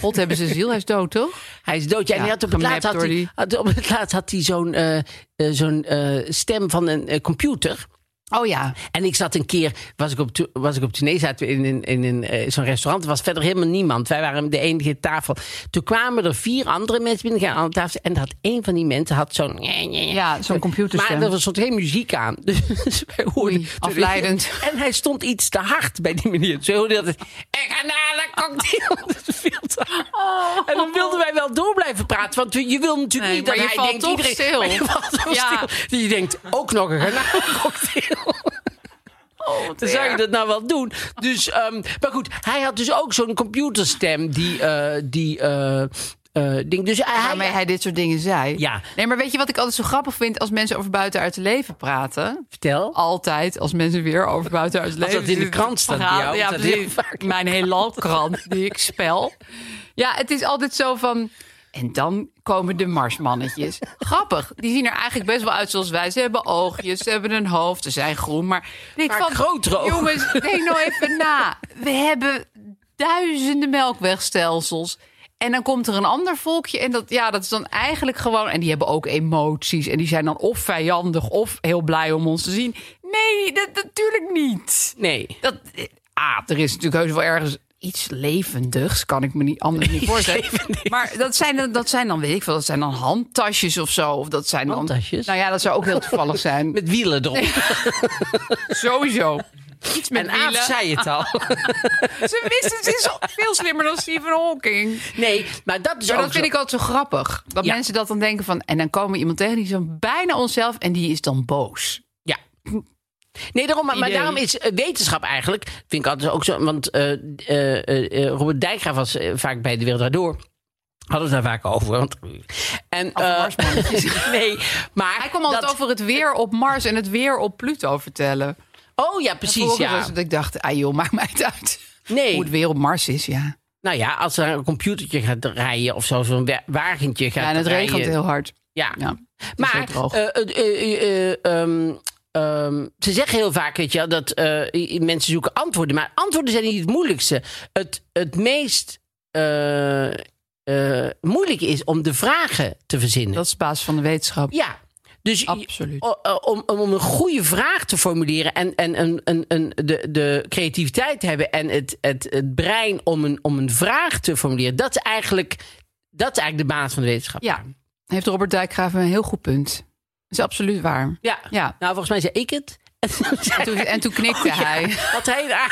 [SPEAKER 3] God hebben ze ziel, hij is dood, toch?
[SPEAKER 2] Hij is dood. Ja, en
[SPEAKER 3] Ja,
[SPEAKER 2] hij had op, het
[SPEAKER 3] gemapt
[SPEAKER 2] laatst had
[SPEAKER 3] door
[SPEAKER 2] hij,
[SPEAKER 3] die-
[SPEAKER 2] had- op het laatst had hij zo'n eh, eh, zo'n, eh, stem van een eh, computer.
[SPEAKER 3] Oh ja.
[SPEAKER 2] En ik zat een keer, was ik op, to- was ik op tournee, zaten we in, een- in, een, eh, zo'n restaurant. Er was verder helemaal niemand. Wij waren de enige tafel. Toen kwamen er vier andere mensen binnen aan de tafel. En had een van die mensen had zo'n...
[SPEAKER 3] Ja, zo'n computerstem.
[SPEAKER 2] Maar er was soort geen muziek aan. [laughs] Dus wij hoorden...
[SPEAKER 3] Oei, afleidend.
[SPEAKER 2] En hij stond iets te hard bij die meneer. Dus wij hoorden altijd... Ik ga naar de cocktail. [laughs] Dat is veel te hard. En dan wilden wij wel door blijven praten. Want je wil natuurlijk
[SPEAKER 3] Oh. Nee,
[SPEAKER 2] niet dat
[SPEAKER 3] maar je
[SPEAKER 2] hij
[SPEAKER 3] valt
[SPEAKER 2] denkt... iedereen,
[SPEAKER 3] toch stil.
[SPEAKER 2] maar [laughs] je valt toch
[SPEAKER 3] Ja.
[SPEAKER 2] stil. Dus je denkt, ook nog een
[SPEAKER 3] [laughs]
[SPEAKER 2] garnalencocktail.
[SPEAKER 3] Oh,
[SPEAKER 2] Dan zou je dat nou wel doen. Dus, ehm, maar goed, hij had dus ook zo'n computerstem die... eh, die eh, eh, ding. Dus hij,
[SPEAKER 3] waarmee hij dit soort dingen zei.
[SPEAKER 2] Ja.
[SPEAKER 3] Nee, maar weet je wat ik altijd zo grappig vind als mensen over buitenuit het leven praten?
[SPEAKER 2] Vertel.
[SPEAKER 3] Altijd als mensen weer over buitenuit het leven
[SPEAKER 2] dat in de krant staat bij jou,
[SPEAKER 3] verhalen-
[SPEAKER 2] is
[SPEAKER 3] Ja,
[SPEAKER 2] dat
[SPEAKER 3] precies.
[SPEAKER 2] heel vaak.
[SPEAKER 3] Mijn
[SPEAKER 2] [laughs]
[SPEAKER 3] hele krant die ik spel. Ja, het is altijd zo van. En dan komen de [laughs] marsmannetjes. Grappig. Die zien er eigenlijk best wel uit zoals wij. Ze hebben oogjes, ze hebben een hoofd, ze zijn groen. Maar, ik denk
[SPEAKER 2] Maar grotere ogen.
[SPEAKER 3] Jongens, denk [laughs] nou even na. We hebben duizenden melkwegstelsels. En dan komt er een ander volkje. En dat, ja, dat is dan eigenlijk gewoon. En die hebben ook emoties. En die zijn dan of vijandig of heel blij om ons te zien. Nee, dat natuurlijk niet.
[SPEAKER 2] Nee.
[SPEAKER 3] Dat, eh, ah, er is natuurlijk heus wel ergens iets levendigs, kan ik me niet anders niet voorstellen. maar dat zijn, dan- dat zijn dan, weet ik veel, dat zijn dan handtasjes of zo. Of dat zijn dan,
[SPEAKER 2] Handtasjes?
[SPEAKER 3] Nou ja, dat zou ook heel toevallig [laughs] zijn.
[SPEAKER 2] Met wielen erop.
[SPEAKER 3] Sowieso. Iets met
[SPEAKER 2] en Aaf
[SPEAKER 3] wielen.
[SPEAKER 2] zei het
[SPEAKER 3] [laughs]
[SPEAKER 2] al.
[SPEAKER 3] Ze wisten, ze is al veel slimmer dan Stephen Hawking.
[SPEAKER 2] Nee, maar dat is
[SPEAKER 3] Maar
[SPEAKER 2] ook
[SPEAKER 3] dat vind
[SPEAKER 2] zo.
[SPEAKER 3] ik altijd zo grappig. Dat
[SPEAKER 2] Ja.
[SPEAKER 3] mensen dat dan denken van... en dan komen we iemand tegen die is dan bijna onszelf... en die is dan boos.
[SPEAKER 2] Ja. Nee, daarom, maar, maar
[SPEAKER 3] Idee.
[SPEAKER 2] daarom is eh, wetenschap eigenlijk, vind ik altijd ook zo, want eh, eh, eh, eh, Robert Dijkgraaf was eh, vaak bij De Wereld Draait Door. Hadden we het daar vaak over. Want, en, eh, [laughs]
[SPEAKER 3] [laughs] Marsmannetjes.
[SPEAKER 2] nee, maar...
[SPEAKER 3] Hij kwam altijd
[SPEAKER 2] dat-
[SPEAKER 3] over het weer op Mars en het weer op Pluto vertellen.
[SPEAKER 2] Oh ja, precies,
[SPEAKER 3] Vroeger
[SPEAKER 2] ja.
[SPEAKER 3] was het dat ik dacht, ah joh, maakt mij het uit.
[SPEAKER 2] Nee.
[SPEAKER 3] Hoe het weer op Mars is, ja.
[SPEAKER 2] Nou ja, als er een computertje gaat rijden of zo, zo'n wa- wagentje gaat
[SPEAKER 3] ja en het
[SPEAKER 2] rijden.
[SPEAKER 3] regent heel hard.
[SPEAKER 2] Ja.
[SPEAKER 3] Ja, het is heel
[SPEAKER 2] Maar
[SPEAKER 3] droog.
[SPEAKER 2] eh, eh, eh, eh, ehm, ehm, ze zeggen heel vaak weet je, wel, dat eh, mensen zoeken antwoorden. Maar antwoorden zijn niet het moeilijkste. Het, het meest eh eh, moeilijke is om de vragen te verzinnen.
[SPEAKER 3] dat is de basis van de wetenschap.
[SPEAKER 2] Ja. Dus je-
[SPEAKER 3] Absoluut.
[SPEAKER 2] o- eh, om, om, om een goede vraag te formuleren en, en, en, en, en de, de creativiteit te hebben en het, het, het brein om een, om een vraag te formuleren, dat is eigenlijk, dat is eigenlijk de baas van de wetenschap.
[SPEAKER 3] Ja, heeft Robert Dijkgraaf een heel goed punt. Dat is absoluut waar.
[SPEAKER 2] Ja.
[SPEAKER 3] Ja.
[SPEAKER 2] Nou, volgens mij zei ik het. [laughs] En toen,
[SPEAKER 3] En toen, en toen knikte hij.
[SPEAKER 2] Wat hij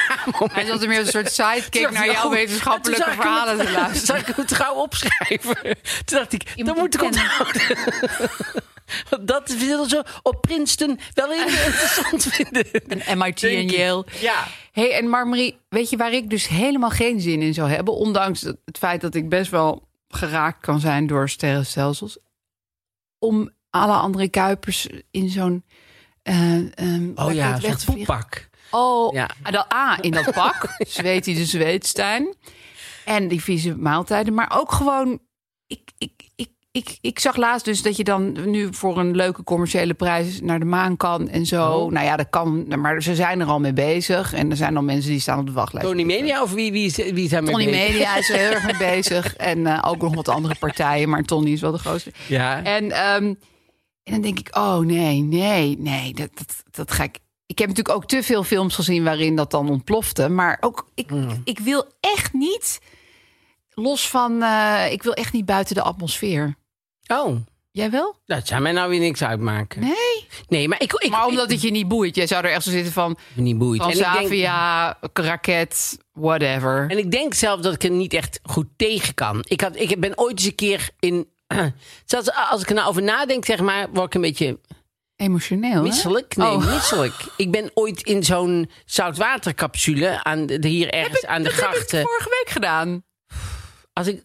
[SPEAKER 3] Hij zat er meer als een soort sidekick naar jouw wetenschappelijke verhalen
[SPEAKER 2] [laughs]
[SPEAKER 3] te luisteren.
[SPEAKER 2] Zal ik hem trouw opschrijven? Toen dacht ik, dat
[SPEAKER 3] Iemand
[SPEAKER 2] moet ik
[SPEAKER 3] die
[SPEAKER 2] onthouden. [laughs] Want dat wilden ze op Princeton wel
[SPEAKER 3] [laughs]
[SPEAKER 2] heel interessant vinden.
[SPEAKER 3] En MIT en
[SPEAKER 2] Denk ik.
[SPEAKER 3] Yale.
[SPEAKER 2] Ja.
[SPEAKER 3] hey, en Marmarie, weet je waar ik dus helemaal geen zin in zou hebben? Ondanks het het feit dat ik best wel geraakt kan zijn door sterrenstelsels. Om alle andere Kuipers in zo'n... eh, ehm,
[SPEAKER 2] Oh
[SPEAKER 3] raket
[SPEAKER 2] ja,
[SPEAKER 3] weg te
[SPEAKER 2] zo'n
[SPEAKER 3] vliegen.
[SPEAKER 2] poeppak.
[SPEAKER 3] Oh,
[SPEAKER 2] Ja.
[SPEAKER 3] en dan A, in dat pak. Zweet hij de Zweedstein. En die vieze maaltijden. Maar ook gewoon... Ik, ik, ik, ik, ik zag laatst dus dat je dan nu voor een leuke commerciële prijs naar de maan kan en zo. Nou ja, dat kan. Maar ze zijn er al mee bezig. En er zijn al mensen die staan op de wachtlijst.
[SPEAKER 2] Tony Media of wie, wie, is- wie is daarmee
[SPEAKER 3] Tony
[SPEAKER 2] bezig?
[SPEAKER 3] Media is er heel erg mee bezig. En eh, ook nog wat andere partijen. Maar Tony is wel de grootste.
[SPEAKER 2] Ja.
[SPEAKER 3] En, ehm, en dan denk ik, oh nee, nee, nee, dat, dat, dat ga ik. Ik heb natuurlijk ook te veel films gezien waarin dat dan ontplofte. Maar ook, ik, ik wil echt niet los van, eh, ik wil echt niet buiten de atmosfeer.
[SPEAKER 2] Oh,
[SPEAKER 3] Jij wel?
[SPEAKER 2] dat zou mij nou weer niks uitmaken. Nee,
[SPEAKER 3] Nee.
[SPEAKER 2] maar ik... ik
[SPEAKER 3] Maar omdat het je niet boeit. Jij zou er echt zo zitten van,
[SPEAKER 2] ik, niet boeit. En ik, denk,
[SPEAKER 3] Transavia, raket, whatever.
[SPEAKER 2] en ik denk zelf dat ik er niet echt goed tegen kan. Ik, had, ik ben ooit eens een keer in... [clears throat] Zelfs als ik er nou over nadenk, zeg maar, word ik een beetje
[SPEAKER 3] Emotioneel, hè?
[SPEAKER 2] misselijk. Nee,
[SPEAKER 3] Oh.
[SPEAKER 2] misselijk. Ik ben ooit in zo'n zoutwatercapsule aan de, hier ergens aan de
[SPEAKER 3] Dat heb ik
[SPEAKER 2] grachten.
[SPEAKER 3] vorige week gedaan.
[SPEAKER 2] Als ik...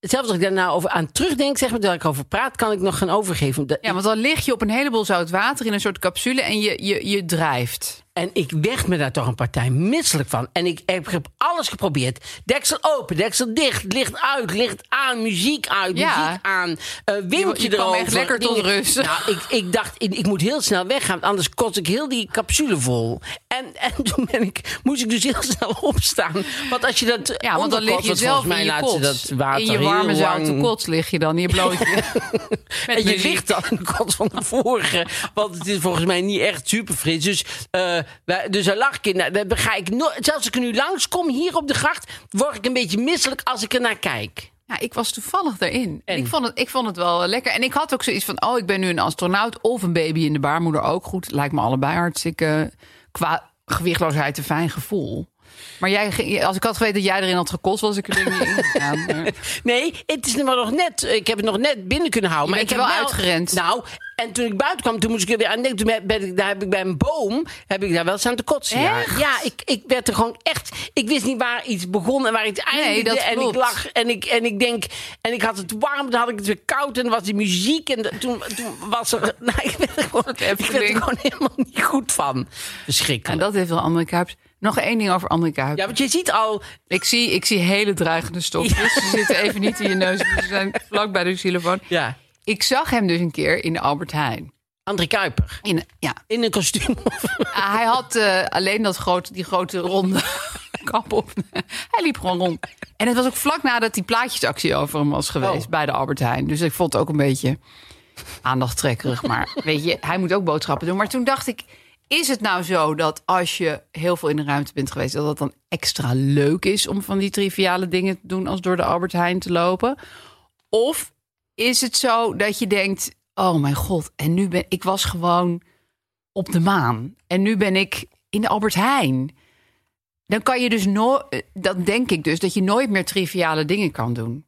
[SPEAKER 2] Zelfs als ik daar nou over aan terugdenk, zeg maar, dat ik over praat, kan ik nog gaan overgeven. Omdat
[SPEAKER 3] Ja, want dan lig je op een heleboel zout water in een soort capsule en je, je, je drijft.
[SPEAKER 2] En ik werd me daar toch een partij misselijk van. En ik heb heb alles geprobeerd. Deksel open, deksel dicht, licht uit, licht aan, muziek uit,
[SPEAKER 3] Ja.
[SPEAKER 2] muziek aan. eh windje
[SPEAKER 3] Je- je kwam
[SPEAKER 2] erover.
[SPEAKER 3] echt lekker tot
[SPEAKER 2] dingen.
[SPEAKER 3] rust.
[SPEAKER 2] Nou, ik, ik dacht, ik, ik moet heel snel weggaan, want anders kost ik heel die capsule vol. En, en [laughs] toen ben ik, moest ik dus heel snel opstaan. Want als je dat
[SPEAKER 3] Ja, want dan lig
[SPEAKER 2] onderkot,
[SPEAKER 3] je
[SPEAKER 2] want
[SPEAKER 3] zelf
[SPEAKER 2] volgens mij
[SPEAKER 3] in je
[SPEAKER 2] laat
[SPEAKER 3] kots.
[SPEAKER 2] ze dat water
[SPEAKER 3] in je warme
[SPEAKER 2] heel lang...
[SPEAKER 3] zouten kots lig je dan, in
[SPEAKER 2] [laughs]
[SPEAKER 3] je blootje.
[SPEAKER 2] En je
[SPEAKER 3] muziek.
[SPEAKER 2] ligt dan aan de kant van de vorige. Want het is volgens mij niet echt super fris. Dus, eh wij- dus daar lach ik in. Nou, daar ga ik nooit- zelfs als ik er nu langskom, hier op de gracht... word ik een beetje misselijk als ik er naar kijk.
[SPEAKER 3] ja, ik was toevallig daarin. En?
[SPEAKER 2] En?
[SPEAKER 3] Ik, vond het, ik vond het wel eh, lekker. En ik had ook zoiets van, oh, ik ben nu een astronaut of een baby in de baarmoeder ook. Goed, lijkt me allebei hartstikke qua gewichtloosheid een fijn gevoel. Maar jij, ging- als ik had geweten dat jij erin had gekost, was ik er denk ik niet
[SPEAKER 2] [laughs]
[SPEAKER 3] in gegaan. Maar-
[SPEAKER 2] Nee, het is maar nog net. Ik heb het nog net binnen kunnen houden.
[SPEAKER 3] Je
[SPEAKER 2] maar
[SPEAKER 3] bent
[SPEAKER 2] ik heb
[SPEAKER 3] wel uitgerend.
[SPEAKER 2] Nou, en toen ik buiten kwam, toen moest ik er weer aan denken. Toen ben- ben ik, daar heb ik bij een boom, heb ik daar wel staan te kotsen. Ja,
[SPEAKER 3] Echt?
[SPEAKER 2] ja ik, ik werd er gewoon echt... Ik wist niet waar iets begon en waar iets eindigde.
[SPEAKER 3] dat
[SPEAKER 2] en ik
[SPEAKER 3] klopt.
[SPEAKER 2] lag en ik, en ik denk... En ik had het warm, dan had ik het weer koud. En dan was die muziek. En de- toen, toen was er... [laughs] Nou, ik werd er gewoon, ik werd er
[SPEAKER 3] Efteling.
[SPEAKER 2] gewoon helemaal niet goed van.
[SPEAKER 3] En
[SPEAKER 2] Verschrikkelijk.
[SPEAKER 3] dat heeft wel André Kuipers. Nog één ding over André Kuipers.
[SPEAKER 2] Ja, want je ziet al...
[SPEAKER 3] Ik zie, ik zie hele dreigende stofjes. Ze zitten even niet in je neus. Ze zijn vlak bij de xylofoon.
[SPEAKER 2] Ja,
[SPEAKER 3] Ik zag hem dus een keer in de Albert Heijn.
[SPEAKER 2] André Kuiper.
[SPEAKER 3] In, ja.
[SPEAKER 2] In een kostuum. [laughs]
[SPEAKER 3] Ah, Hij had eh, alleen dat grote, die grote ronde [laughs] kap op. Hij liep gewoon rond. En het was ook vlak nadat die plaatjesactie over hem was geweest
[SPEAKER 2] Oh.
[SPEAKER 3] bij de Albert Heijn. Dus ik vond het ook een beetje aandachttrekkerig. Maar weet je, hij moet ook boodschappen doen. Maar toen dacht ik, is het nou zo dat als je heel veel in de ruimte bent geweest... dat dat dan extra leuk is om van die triviale dingen te doen... als door de Albert Heijn te lopen? Of is het zo dat je denkt: oh mijn god, en nu ben ik was gewoon op de maan en nu ben ik in de Albert Heijn. Dan kan je dus nooit, dat denk ik dus, dat je nooit meer triviale dingen kan doen.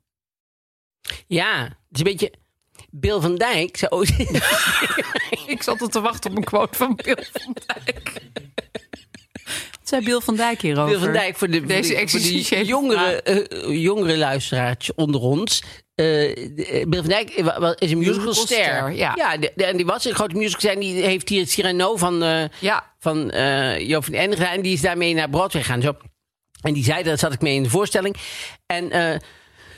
[SPEAKER 2] Ja, het is een beetje... Bill van Dijk zei ooit...
[SPEAKER 3] Ik zat al te wachten op een quote van Bill van Dijk. Wat zei Bill van Dijk hierover?
[SPEAKER 2] Wil van Dijk voor de, voor
[SPEAKER 3] Deze
[SPEAKER 2] de- voor die
[SPEAKER 3] existentiële
[SPEAKER 2] jongere, eh, jongere luisteraartje onder ons. Eh, de- eh, Bill van Dijk wa- wa- is een musicalster.
[SPEAKER 3] Musicalster, ja.
[SPEAKER 2] de- de- en die was een grote musical en die heeft hier het Cyrano van, eh
[SPEAKER 3] Ja.
[SPEAKER 2] van eh Joop van Ende gedaan. En die is daarmee naar Broadway gegaan. Zo. En die zei, daar zat ik mee in de voorstelling. En eh,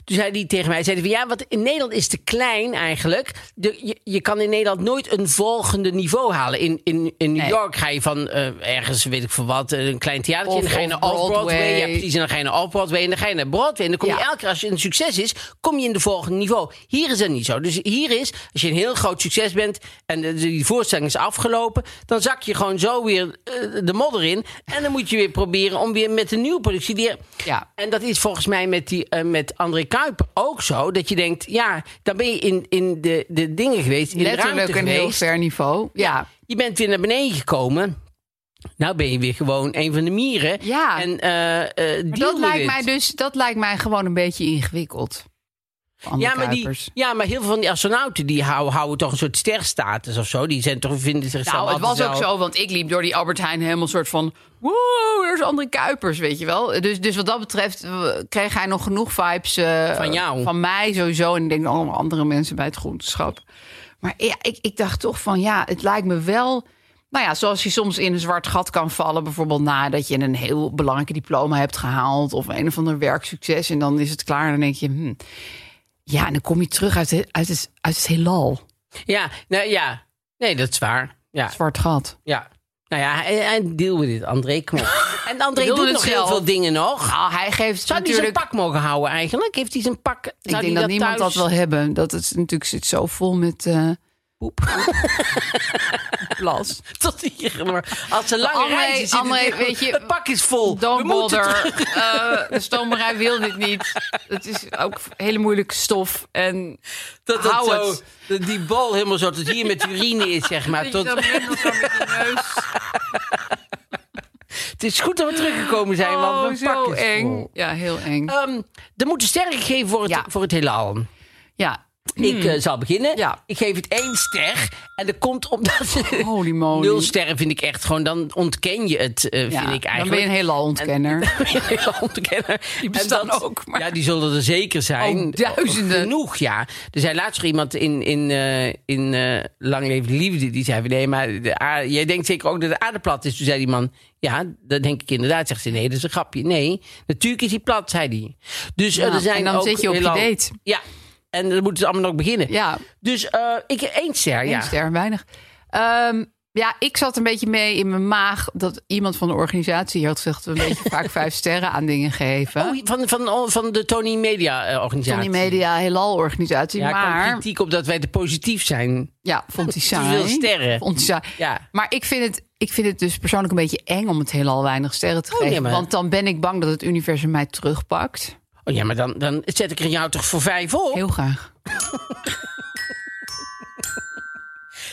[SPEAKER 2] toen zei hij tegen mij, zei hij van ja, wat in Nederland is te klein eigenlijk. De, je, je kan in Nederland nooit een volgende niveau halen. In, in, in New
[SPEAKER 3] Nee.
[SPEAKER 2] York ga je van eh, ergens, weet ik veel wat, een klein theater. En
[SPEAKER 3] Of-
[SPEAKER 2] dan ga je
[SPEAKER 3] of
[SPEAKER 2] naar Off-Broadway.
[SPEAKER 3] Broadway.
[SPEAKER 2] Ja, precies. En dan ga je naar Off-Broadway. En dan ga je naar Broadway. En dan kom je
[SPEAKER 3] Ja.
[SPEAKER 2] elke keer als je een succes is, kom je in de volgende niveau. Hier is dat niet zo. Dus hier is, als je een heel groot succes bent en de- die voorstelling is afgelopen, dan zak je gewoon zo weer eh, de modder in. En dan moet je weer proberen om weer met een nieuwe productie weer.
[SPEAKER 3] Ja.
[SPEAKER 2] En dat is volgens mij met, die, eh, met André Kuiper ook zo. Dat je denkt, ja, dan ben je in, in de, de dingen geweest. In de
[SPEAKER 3] Letterlijk
[SPEAKER 2] ruimte
[SPEAKER 3] een heel
[SPEAKER 2] geweest.
[SPEAKER 3] ver niveau. Ja.
[SPEAKER 2] Je bent weer naar beneden gekomen. Nou ben je weer gewoon een van de mieren.
[SPEAKER 3] Ja.
[SPEAKER 2] En eh, eh,
[SPEAKER 3] Maar
[SPEAKER 2] deal
[SPEAKER 3] dat
[SPEAKER 2] with
[SPEAKER 3] lijkt
[SPEAKER 2] it.
[SPEAKER 3] mij dus, dat lijkt mij gewoon een beetje ingewikkeld. Allemaal
[SPEAKER 2] Ja maar, die,
[SPEAKER 3] Kuipers.
[SPEAKER 2] ja, maar heel veel van die astronauten die houden, houden toch een soort sterstatus of zo. Die zijn toch, vinden zichzelf
[SPEAKER 3] Nou, het was
[SPEAKER 2] altijd
[SPEAKER 3] ook
[SPEAKER 2] wel-
[SPEAKER 3] zo, want ik liep door die Albert Heijn helemaal soort van... Wow, er is André Kuipers, weet je wel. Dus, dus wat dat betreft eh, kreeg hij nog genoeg vibes... eh,
[SPEAKER 2] Van jou.
[SPEAKER 3] Van mij sowieso. En ik denk allemaal andere mensen bij het groenteschap. Maar ja, ik, ik dacht toch van ja, het lijkt me wel... Nou ja, zoals je soms in een zwart gat kan vallen. Bijvoorbeeld nadat je een heel belangrijk diploma hebt gehaald... of een of ander werksucces. En dan is het klaar en dan denk je... hm, ja, en dan kom je terug uit, het- uit, het, uit het heelal.
[SPEAKER 2] Ja, nou, ja, nee, dat is waar. Ja,
[SPEAKER 3] Zwart gat.
[SPEAKER 2] ja. Nou ja, hij, hij deal with it, André. Kom
[SPEAKER 3] [laughs]
[SPEAKER 2] op. En André
[SPEAKER 3] Wilde
[SPEAKER 2] doet
[SPEAKER 3] het
[SPEAKER 2] nog heel
[SPEAKER 3] zelf.
[SPEAKER 2] veel dingen nog.
[SPEAKER 3] Nou, hij geeft
[SPEAKER 2] Zou hij zijn
[SPEAKER 3] natuurlijk...
[SPEAKER 2] pak mogen houden eigenlijk? Heeft hij zijn pak...
[SPEAKER 3] ik
[SPEAKER 2] zou
[SPEAKER 3] denk
[SPEAKER 2] hij
[SPEAKER 3] dat, niemand
[SPEAKER 2] thuis-
[SPEAKER 3] dat wil hebben. Dat het natuurlijk zit zo vol met eh [laughs] plas.
[SPEAKER 2] [laughs] Tot hier, maar als ze lange
[SPEAKER 3] André-
[SPEAKER 2] reizen zitten,
[SPEAKER 3] André,
[SPEAKER 2] denken we,
[SPEAKER 3] weet je-
[SPEAKER 2] het pak is vol. We moeten
[SPEAKER 3] Dombodder.
[SPEAKER 2] terug.
[SPEAKER 3] eh, de stoommerij wil dit niet. Het is ook hele moeilijke stof. En
[SPEAKER 2] Dat, dat
[SPEAKER 3] hou
[SPEAKER 2] zo,
[SPEAKER 3] het.
[SPEAKER 2] dat die bal helemaal zo tot hier met
[SPEAKER 3] [laughs]
[SPEAKER 2] urine is, zeg maar.
[SPEAKER 3] Dat je
[SPEAKER 2] Tot,
[SPEAKER 3] zo middels zo met je neus.
[SPEAKER 2] het is goed dat we teruggekomen zijn, want
[SPEAKER 3] Oh,
[SPEAKER 2] mijn pak
[SPEAKER 3] zo
[SPEAKER 2] is
[SPEAKER 3] eng.
[SPEAKER 2] vol.
[SPEAKER 3] Ja, heel eng.
[SPEAKER 2] Ehm, er moeten sterren gegeven voor het,
[SPEAKER 3] Ja.
[SPEAKER 2] voor het heelal.
[SPEAKER 3] Ja.
[SPEAKER 2] Ik eh, zal beginnen.
[SPEAKER 3] Ja.
[SPEAKER 2] Ik geef het één ster. En dat komt omdat...
[SPEAKER 3] Holy moly.
[SPEAKER 2] [laughs] Nul sterren vind ik echt gewoon... Dan ontken je het, eh,
[SPEAKER 3] Ja,
[SPEAKER 2] vind ik
[SPEAKER 3] dan ben
[SPEAKER 2] eigenlijk.
[SPEAKER 3] je een heelal ontkenner.
[SPEAKER 2] [laughs] ontkennen.
[SPEAKER 3] Die bestaan ook, maar-
[SPEAKER 2] Ja, die zullen er zeker zijn.
[SPEAKER 3] Oh, duizenden.
[SPEAKER 2] Genoeg, ja. Er zei laatst nog iemand in, in, eh, in eh, Lang Leven de Liefde... die zei, van, nee, maar de aarde- jij denkt zeker ook dat de aarde plat is. Toen zei die man, ja, dat denk ik inderdaad. Zegt ze, nee, dat is een grapje. Nee, natuurlijk is die plat, zei die. Dus eh,
[SPEAKER 3] Ja,
[SPEAKER 2] er zijn
[SPEAKER 3] en dan
[SPEAKER 2] ook
[SPEAKER 3] zit je op je
[SPEAKER 2] heelal-
[SPEAKER 3] date.
[SPEAKER 2] Ja, en dan moeten ze allemaal nog beginnen.
[SPEAKER 3] Ja.
[SPEAKER 2] Dus eh ik één ster,
[SPEAKER 3] Eén
[SPEAKER 2] ja.
[SPEAKER 3] ster, weinig. Ehm, ja, ik zat een beetje mee in mijn maag dat iemand van de organisatie hier had gezegd dat we een beetje vaak vijf sterren aan dingen geven.
[SPEAKER 2] Oh, van, van, van de Tony Media eh, organisatie.
[SPEAKER 3] Tony Media, heelal organisatie,
[SPEAKER 2] Ja, maar...
[SPEAKER 3] maar
[SPEAKER 2] kritiek op dat wij te positief zijn.
[SPEAKER 3] ja,
[SPEAKER 2] [laughs]
[SPEAKER 3] vond hij [laughs] saai.
[SPEAKER 2] veel sterren.
[SPEAKER 3] Vond hij saai.
[SPEAKER 2] Ja.
[SPEAKER 3] Maar ik vind, het, ik vind het dus persoonlijk een beetje eng om het heelal weinig sterren te
[SPEAKER 2] Oh, nee,
[SPEAKER 3] geven,
[SPEAKER 2] maar-
[SPEAKER 3] want dan ben ik bang dat het universum mij terugpakt.
[SPEAKER 2] Oh ja, maar dan, dan zet ik er jou toch voor vijf op?
[SPEAKER 3] Heel graag.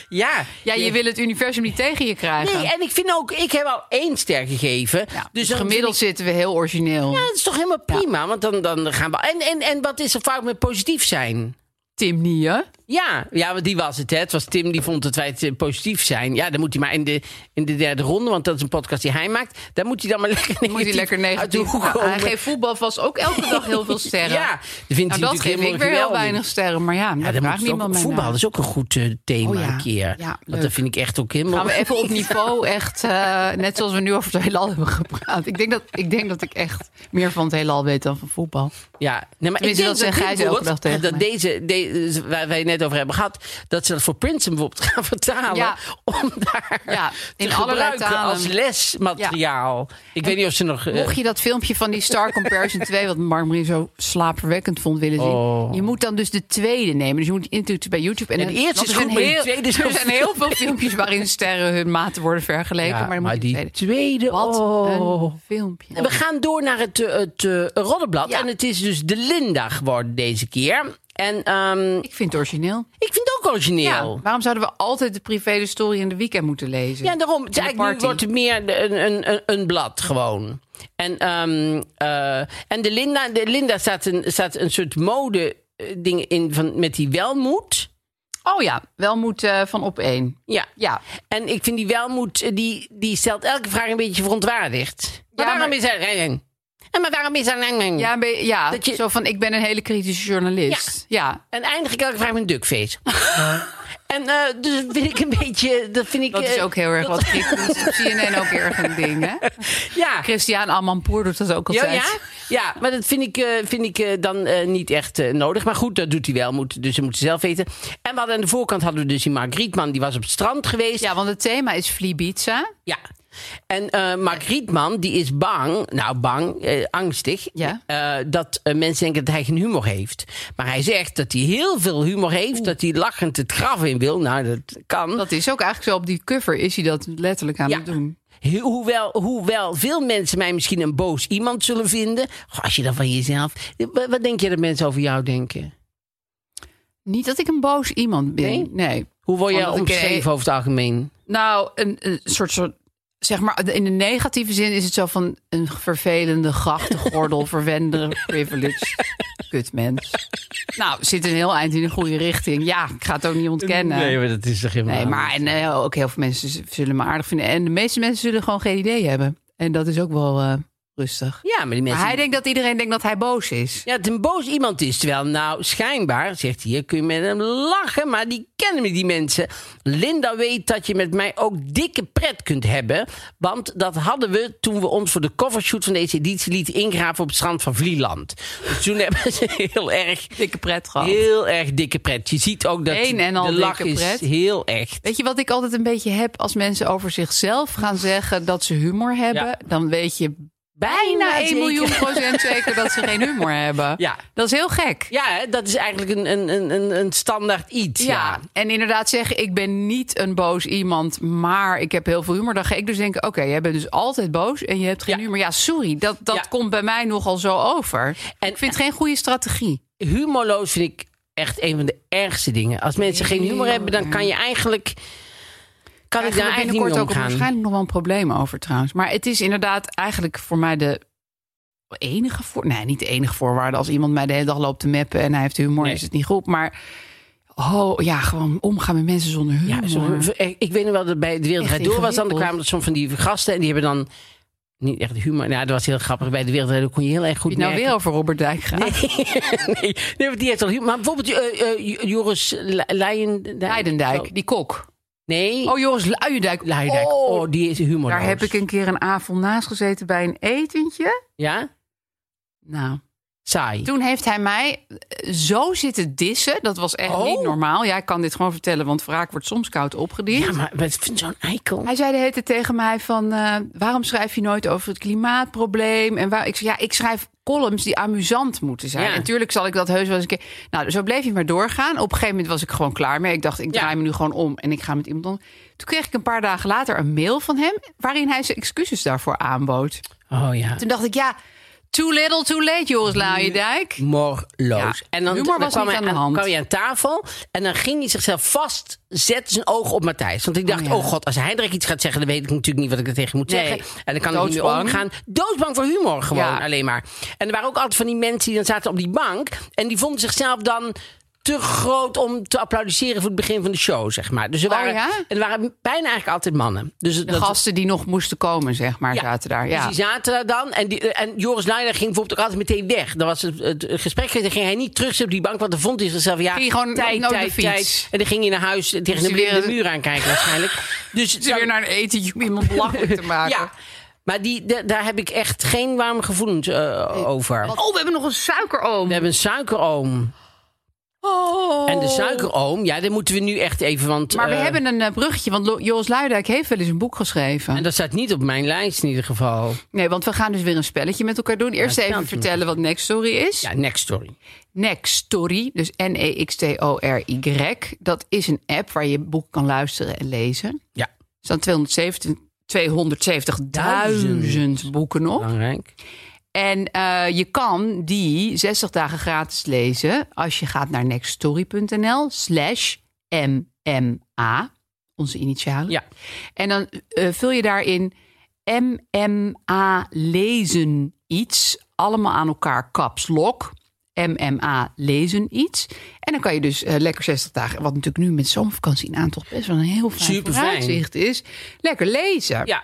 [SPEAKER 2] Ja.
[SPEAKER 3] Ja, je wil het universum niet tegen je krijgen.
[SPEAKER 2] Nee, en ik vind ook, ik heb al één ster gegeven.
[SPEAKER 3] Ja,
[SPEAKER 2] dus
[SPEAKER 3] dus
[SPEAKER 2] dan
[SPEAKER 3] gemiddeld
[SPEAKER 2] vind
[SPEAKER 3] zitten we heel origineel.
[SPEAKER 2] ik- ja, dat is toch helemaal prima, want dan, dan gaan we... En, en, en wat is er fout met positief zijn?
[SPEAKER 3] Tim Nieuwe.
[SPEAKER 2] Ja, ja, want die was het, hè. Het was Tim die vond dat wij het eh, positief zijn. Ja, dan moet hij maar in de, in de derde ronde, want dat is een podcast die hij maakt. Daar moet hij dan maar lekker negatief,
[SPEAKER 3] Moet hij lekker
[SPEAKER 2] uit de
[SPEAKER 3] negatief.
[SPEAKER 2] hoek
[SPEAKER 3] Nou, hij
[SPEAKER 2] komen.
[SPEAKER 3] geeft voetbal vast ook elke dag
[SPEAKER 2] [laughs]
[SPEAKER 3] heel veel sterren.
[SPEAKER 2] Ja, dat vindt
[SPEAKER 3] Nou,
[SPEAKER 2] hij
[SPEAKER 3] dat
[SPEAKER 2] natuurlijk
[SPEAKER 3] geef
[SPEAKER 2] helemaal
[SPEAKER 3] ik weer heel
[SPEAKER 2] geweldig.
[SPEAKER 3] weinig sterren. Maar ja,
[SPEAKER 2] Ja, dan moet
[SPEAKER 3] daar vraagt
[SPEAKER 2] het ook-
[SPEAKER 3] niemand mij
[SPEAKER 2] voetbal
[SPEAKER 3] naar.
[SPEAKER 2] is ook een goed eh, thema
[SPEAKER 3] Oh ja,
[SPEAKER 2] een keer.
[SPEAKER 3] ja,
[SPEAKER 2] want dat
[SPEAKER 3] leuk.
[SPEAKER 2] vind ik echt ook helemaal...
[SPEAKER 3] Gaan we even op niveau echt, eh, net zoals we nu over het heelal hebben gepraat. Ik denk, dat, ik denk dat ik echt meer van het heelal weet dan van voetbal.
[SPEAKER 2] Ja, nee, maar ik
[SPEAKER 3] Tenminste,
[SPEAKER 2] denk
[SPEAKER 3] dat zegt
[SPEAKER 2] dit
[SPEAKER 3] Gijs elke
[SPEAKER 2] bijvoorbeeld,
[SPEAKER 3] dag tegen
[SPEAKER 2] dat
[SPEAKER 3] mij.
[SPEAKER 2] deze, deze, waar wij het net over hebben gehad, dat ze dat voor Princeton bijvoorbeeld [laughs] gaan vertalen.
[SPEAKER 3] Ja.
[SPEAKER 2] Om daar
[SPEAKER 3] Ja,
[SPEAKER 2] in
[SPEAKER 3] in
[SPEAKER 2] te
[SPEAKER 3] allerlei
[SPEAKER 2] gebruiken
[SPEAKER 3] talen.
[SPEAKER 2] als lesmateriaal. Ik weet niet of ze nog... eh,
[SPEAKER 3] Mocht je dat filmpje van die Star
[SPEAKER 2] [laughs]
[SPEAKER 3] Comparison 2, wat Mark Marie zo slaapverwekkend vond, willen zien.
[SPEAKER 2] Oh.
[SPEAKER 3] Je moet dan dus de tweede nemen. Dus je moet intuïtief bij YouTube. En
[SPEAKER 2] Ja, de eerste
[SPEAKER 3] want
[SPEAKER 2] is goed,
[SPEAKER 3] er zijn
[SPEAKER 2] maar die
[SPEAKER 3] heel-
[SPEAKER 2] tweede is
[SPEAKER 3] [laughs] Er
[SPEAKER 2] heel
[SPEAKER 3] zijn heel veel filmpjes waarin sterren hun maten worden vergeleken.
[SPEAKER 2] ja,
[SPEAKER 3] maar dan moet je de
[SPEAKER 2] die
[SPEAKER 3] tweede.
[SPEAKER 2] tweede...
[SPEAKER 3] Wat
[SPEAKER 2] oh.
[SPEAKER 3] een filmpje.
[SPEAKER 2] We gaan door naar het, eh, het eh, Roddenblad.
[SPEAKER 3] Ja.
[SPEAKER 2] En het is dus de Linda geworden deze keer. En ehm,
[SPEAKER 3] Ik vind het origineel.
[SPEAKER 2] ik vind het ook origineel.
[SPEAKER 3] Ja, waarom zouden we altijd de privé de story in de weekend moeten lezen?
[SPEAKER 2] Ja, daarom. Het is
[SPEAKER 3] En de
[SPEAKER 2] eigenlijk nu
[SPEAKER 3] party.
[SPEAKER 2] wordt het meer de- een, een, een, een blad gewoon. En, ehm, eh, en de Linda, de Linda staat, een, staat een soort mode eh, ding in van, met die welmoed.
[SPEAKER 3] Oh ja, wel moet eh, van op één.
[SPEAKER 2] Ja.
[SPEAKER 3] Ja.
[SPEAKER 2] En ik vind die welmoed, eh, die, die stelt elke vraag een beetje verontwaardigd. Maar
[SPEAKER 3] Ja,
[SPEAKER 2] waarom
[SPEAKER 3] maar-
[SPEAKER 2] is er... En maar waarom is er...
[SPEAKER 3] Ja, een be- ja
[SPEAKER 2] Dat je-
[SPEAKER 3] zo van ik ben een hele kritische journalist. Ja.
[SPEAKER 2] En eindig ik elke vraag met een duckface. [laughs] en eh, dus vind ik een beetje... Dat, vind ik,
[SPEAKER 3] Dat is
[SPEAKER 2] eh,
[SPEAKER 3] ook heel erg wat ik op CNN ook erg een ding,
[SPEAKER 2] [laughs]
[SPEAKER 3] hè?
[SPEAKER 2] Ja.
[SPEAKER 3] Christian Amanpour doet dat ook
[SPEAKER 2] Ja,
[SPEAKER 3] altijd.
[SPEAKER 2] ja? ja, maar dat vind ik, eh, vind ik eh, dan eh, niet echt eh, nodig. Maar goed, dat doet hij wel. Moet, dus dat moet ze zelf weten. En we hadden aan de voorkant hadden we dus die Mark Rietman. Die was op het strand geweest.
[SPEAKER 3] Ja, want het thema is Flibiza.
[SPEAKER 2] Ja. En eh Mark Rietman, die is bang, nou bang, eh, angstig,
[SPEAKER 3] Ja.
[SPEAKER 2] eh, dat eh, mensen denken dat hij geen humor heeft. Maar hij zegt dat hij heel veel humor heeft, dat hij lachend het graf in wil. Nou, dat kan.
[SPEAKER 3] Dat is ook eigenlijk zo op die cover is hij dat letterlijk aan
[SPEAKER 2] Ja.
[SPEAKER 3] het doen.
[SPEAKER 2] He- Hoewel, hoewel veel mensen mij misschien een boos iemand zullen vinden. Goh, als je dan van jezelf. wa- Wat, denk je dat mensen over jou denken?
[SPEAKER 3] Niet dat ik een boos iemand ben.
[SPEAKER 2] Nee?
[SPEAKER 3] Nee.
[SPEAKER 2] Hoe word je
[SPEAKER 3] Omdat ik, eh,
[SPEAKER 2] omschreven over het algemeen?
[SPEAKER 3] Nou, een, een soort soort zeg maar in de
[SPEAKER 2] [laughs]
[SPEAKER 3] negatieve zin is het zo van een vervelende grachtengordel, verwender privilege. kutmens. nou, zit een heel eind in de goede richting. Ja, ik ga het ook niet ontkennen.
[SPEAKER 2] Nee, maar dat is toch helemaal...
[SPEAKER 3] Nee, maar en, eh, ook heel veel mensen z- zullen me aardig vinden. En de meeste mensen zullen gewoon geen idee hebben. En dat is ook wel eh, rustig.
[SPEAKER 2] Ja, maar die mensen...
[SPEAKER 3] Maar hij denkt dat iedereen denkt dat hij boos is.
[SPEAKER 2] Ja, ten boos iemand is. Terwijl, nou, schijnbaar, zegt hij, hier kun je met hem lachen, maar die kennen me, die mensen. Linda weet dat je met mij ook dikke pret kunt hebben. Want dat hadden we toen we ons voor de covershoot van deze editie lieten ingraven op het strand van Vlieland. Dus toen [laughs] hebben ze heel erg,
[SPEAKER 3] Dikke pret gehad.
[SPEAKER 2] heel erg dikke pret. Je ziet ook dat
[SPEAKER 3] Een en al
[SPEAKER 2] de lach
[SPEAKER 3] dikke pret.
[SPEAKER 2] is heel echt.
[SPEAKER 3] Weet je wat ik altijd een beetje heb als mensen over zichzelf gaan zeggen dat ze humor hebben?
[SPEAKER 2] Ja.
[SPEAKER 3] Dan weet je bijna
[SPEAKER 2] Bijna
[SPEAKER 3] 1
[SPEAKER 2] zeker.
[SPEAKER 3] miljoen procent zeker dat ze geen
[SPEAKER 2] [laughs]
[SPEAKER 3] humor hebben.
[SPEAKER 2] Ja.
[SPEAKER 3] Dat is heel gek.
[SPEAKER 2] Ja, hè, dat is eigenlijk een, een, een- een, een standaard iets.
[SPEAKER 3] Ja.
[SPEAKER 2] Ja.
[SPEAKER 3] en inderdaad zeggen, ik ben niet een boos iemand, maar ik heb heel veel humor. Dan ga ik dus denken, oké, jij bent dus altijd boos en je hebt geen
[SPEAKER 2] Ja.
[SPEAKER 3] humor. Ja, sorry, dat, dat
[SPEAKER 2] Ja.
[SPEAKER 3] komt bij mij nogal zo over.
[SPEAKER 2] En-
[SPEAKER 3] ik vind het geen goede strategie.
[SPEAKER 2] humorloos vind ik echt een van de ergste dingen. Als mensen geen humor hebben, dan kan je eigenlijk. Kan
[SPEAKER 3] Daar
[SPEAKER 2] ik
[SPEAKER 3] gaan
[SPEAKER 2] daar
[SPEAKER 3] we
[SPEAKER 2] eigenlijk niet
[SPEAKER 3] binnenkort
[SPEAKER 2] mee
[SPEAKER 3] ook
[SPEAKER 2] omgaan.
[SPEAKER 3] waarschijnlijk nog wel een probleem over trouwens. Maar het is inderdaad eigenlijk voor mij de enige voor, nee, niet de enige voorwaarde. Als iemand mij de hele dag loopt te meppen en hij heeft humor,
[SPEAKER 2] Nee.
[SPEAKER 3] is het niet goed. Maar oh ja, gewoon omgaan met mensen zonder humor.
[SPEAKER 2] Ja, zo- ik weet nog wel dat bij de Wereld
[SPEAKER 3] Echt
[SPEAKER 2] Draait Door was dan. Er
[SPEAKER 3] ingewikkeld.
[SPEAKER 2] kwamen er soms van die gasten en die hebben dan niet echt humor. Nou, dat was heel grappig. Bij de Wereld Draait Door kon je heel erg goed
[SPEAKER 3] Heb je het nou
[SPEAKER 2] merken.
[SPEAKER 3] weer over Robert Dijk gaat.
[SPEAKER 2] [laughs] nee, nee, want die heeft al humor. Maar bijvoorbeeld eh, eh, Joris Le- Leijen-
[SPEAKER 3] Leidendijk, die kok.
[SPEAKER 2] Nee.
[SPEAKER 3] Oh, Joris Luijendijk.
[SPEAKER 2] Leijendijk.
[SPEAKER 3] Oh,
[SPEAKER 2] Oh, die is humor.
[SPEAKER 3] daar heb ik een keer een avond naast gezeten bij een etentje.
[SPEAKER 2] Ja?
[SPEAKER 3] Nou,
[SPEAKER 2] Saai.
[SPEAKER 3] Toen heeft hij mij eh, zo zitten dissen. Dat was echt
[SPEAKER 2] Oh.
[SPEAKER 3] niet normaal. Ja, ik kan dit gewoon vertellen, want wraak wordt soms koud opgediend.
[SPEAKER 2] Ja, maar wat vindt zo'n eikel?
[SPEAKER 3] Hij zei de hele tijd tegen mij van... eh, waarom schrijf je nooit over het klimaatprobleem? En waar, ik zei, ja, ik schrijf columns die amusant moeten zijn.
[SPEAKER 2] Ja.
[SPEAKER 3] En natuurlijk zal ik dat heus wel eens een keer... Nou, zo bleef hij maar doorgaan. Op een gegeven moment was ik gewoon klaar mee. Ik dacht, ik
[SPEAKER 2] Ja.
[SPEAKER 3] draai me nu gewoon om en ik ga met iemand anders. Toen kreeg ik een paar dagen later een mail van hem... waarin hij zijn excuses daarvoor aanbood.
[SPEAKER 2] Oh ja.
[SPEAKER 3] Toen dacht ik, ja, too little, too late, Joris Laaiendijk.
[SPEAKER 2] humorloos.
[SPEAKER 3] Ja, humor was
[SPEAKER 2] kwam
[SPEAKER 3] niet
[SPEAKER 2] hij
[SPEAKER 3] aan de hand.
[SPEAKER 2] kwam hij aan tafel en dan ging hij zichzelf vast zetten zijn oog op Matthijs. Want ik dacht, oh,
[SPEAKER 3] Oh, ja.
[SPEAKER 2] god, als hij er iets gaat zeggen, dan weet ik natuurlijk niet wat ik er tegen moet
[SPEAKER 3] Nee.
[SPEAKER 2] zeggen. En dan kan ik niet meer
[SPEAKER 3] Doodsbang.
[SPEAKER 2] omgaan. Doodsbang voor humor gewoon
[SPEAKER 3] Ja.
[SPEAKER 2] alleen maar. En er waren ook altijd van die mensen die dan zaten op die bank en die vonden zichzelf dan te groot om te applaudisseren voor het begin van de show, zeg maar. Dus er
[SPEAKER 3] Oh,
[SPEAKER 2] waren,
[SPEAKER 3] ja?
[SPEAKER 2] en er waren bijna eigenlijk altijd mannen. Dus
[SPEAKER 3] De gasten die nog moesten komen, zeg maar, zaten daar. Ja.
[SPEAKER 2] Dus die zaten daar dan. En, die, en Joris Leijer ging bijvoorbeeld ook altijd meteen weg. Dan was het, het gesprek, dan ging hij niet terug zitten op die bank. Want dan vond hij zichzelf, ja,
[SPEAKER 3] Ging hij gewoon
[SPEAKER 2] tijd,
[SPEAKER 3] naar de
[SPEAKER 2] tijd,
[SPEAKER 3] fiets.
[SPEAKER 2] tijd. En dan ging hij naar huis eh, tegen
[SPEAKER 3] hij
[SPEAKER 2] de,
[SPEAKER 3] weer-
[SPEAKER 2] de muur aankijken
[SPEAKER 3] [laughs]
[SPEAKER 2] waarschijnlijk. dus
[SPEAKER 3] Ze weer naar een etentje om iemand [laughs] belachelijk te maken.
[SPEAKER 2] Ja, maar die, da- daar heb ik echt geen warme gevoelens eh, over.
[SPEAKER 3] Oh, we hebben nog een suikeroom.
[SPEAKER 2] We hebben een suikeroom.
[SPEAKER 3] Oh.
[SPEAKER 2] En de suikeroom, ja, daar moeten we nu echt even... Want,
[SPEAKER 3] Maar we
[SPEAKER 2] eh,
[SPEAKER 3] hebben een eh, bruggetje, want Lo- Joris Luidijk heeft wel eens een boek geschreven.
[SPEAKER 2] En dat staat niet op mijn lijst in ieder geval.
[SPEAKER 3] Nee, want we gaan dus weer een spelletje met elkaar doen. Eerst even
[SPEAKER 2] spelletje met
[SPEAKER 3] vertellen wat Next Story is.
[SPEAKER 2] Ja, next story.
[SPEAKER 3] Next Story, dus N-E-X-T-O-R-Y. Dat is een app waar je boek kan luisteren en lezen. Er
[SPEAKER 2] Ja,
[SPEAKER 3] staan 270 270.000 boeken nog.
[SPEAKER 2] belangrijk.
[SPEAKER 3] En eh, je kan die 60 dagen gratis lezen als je gaat naar nextstory.nl slash MMA, onze initialen.
[SPEAKER 2] Ja.
[SPEAKER 3] En dan eh, vul je daarin MMA lezen iets, allemaal aan elkaar caps lock. MMA lezen iets. En dan kan je dus eh, lekker 60 dagen, wat natuurlijk nu met zomervakantie in aantocht best wel een heel fijn
[SPEAKER 2] Superfijn.
[SPEAKER 3] vooruitzicht is, lekker lezen.
[SPEAKER 2] Ja,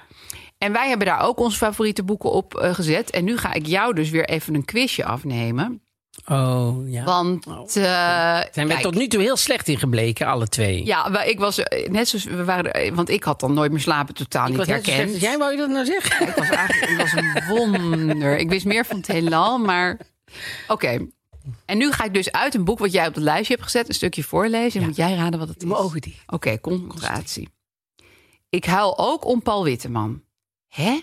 [SPEAKER 3] En wij hebben daar ook onze favoriete boeken op eh, gezet. En nu ga ik jou dus weer even een quizje afnemen.
[SPEAKER 2] oh ja.
[SPEAKER 3] Want eh,
[SPEAKER 2] Zijn wij
[SPEAKER 3] kijk,
[SPEAKER 2] tot nu toe heel slecht in gebleken, alle twee.
[SPEAKER 3] ja, maar ik was eh, net zoals we waren, er- eh, want ik had dan nooit meer slapen totaal
[SPEAKER 2] ik
[SPEAKER 3] niet
[SPEAKER 2] was net zo slecht
[SPEAKER 3] herkend.
[SPEAKER 2] als jij, wou je dat nou zeggen?
[SPEAKER 3] Ik was eigenlijk, ik was een wonder. Ik wist meer van het heelal, maar oké. En nu ga ik dus uit een boek wat jij op het lijstje hebt gezet een stukje voorlezen. En moet jij raden wat het is?
[SPEAKER 2] Mijn ogen dicht.
[SPEAKER 3] Oké, concentratie. Ik huil ook om Paul Witteman. Hè?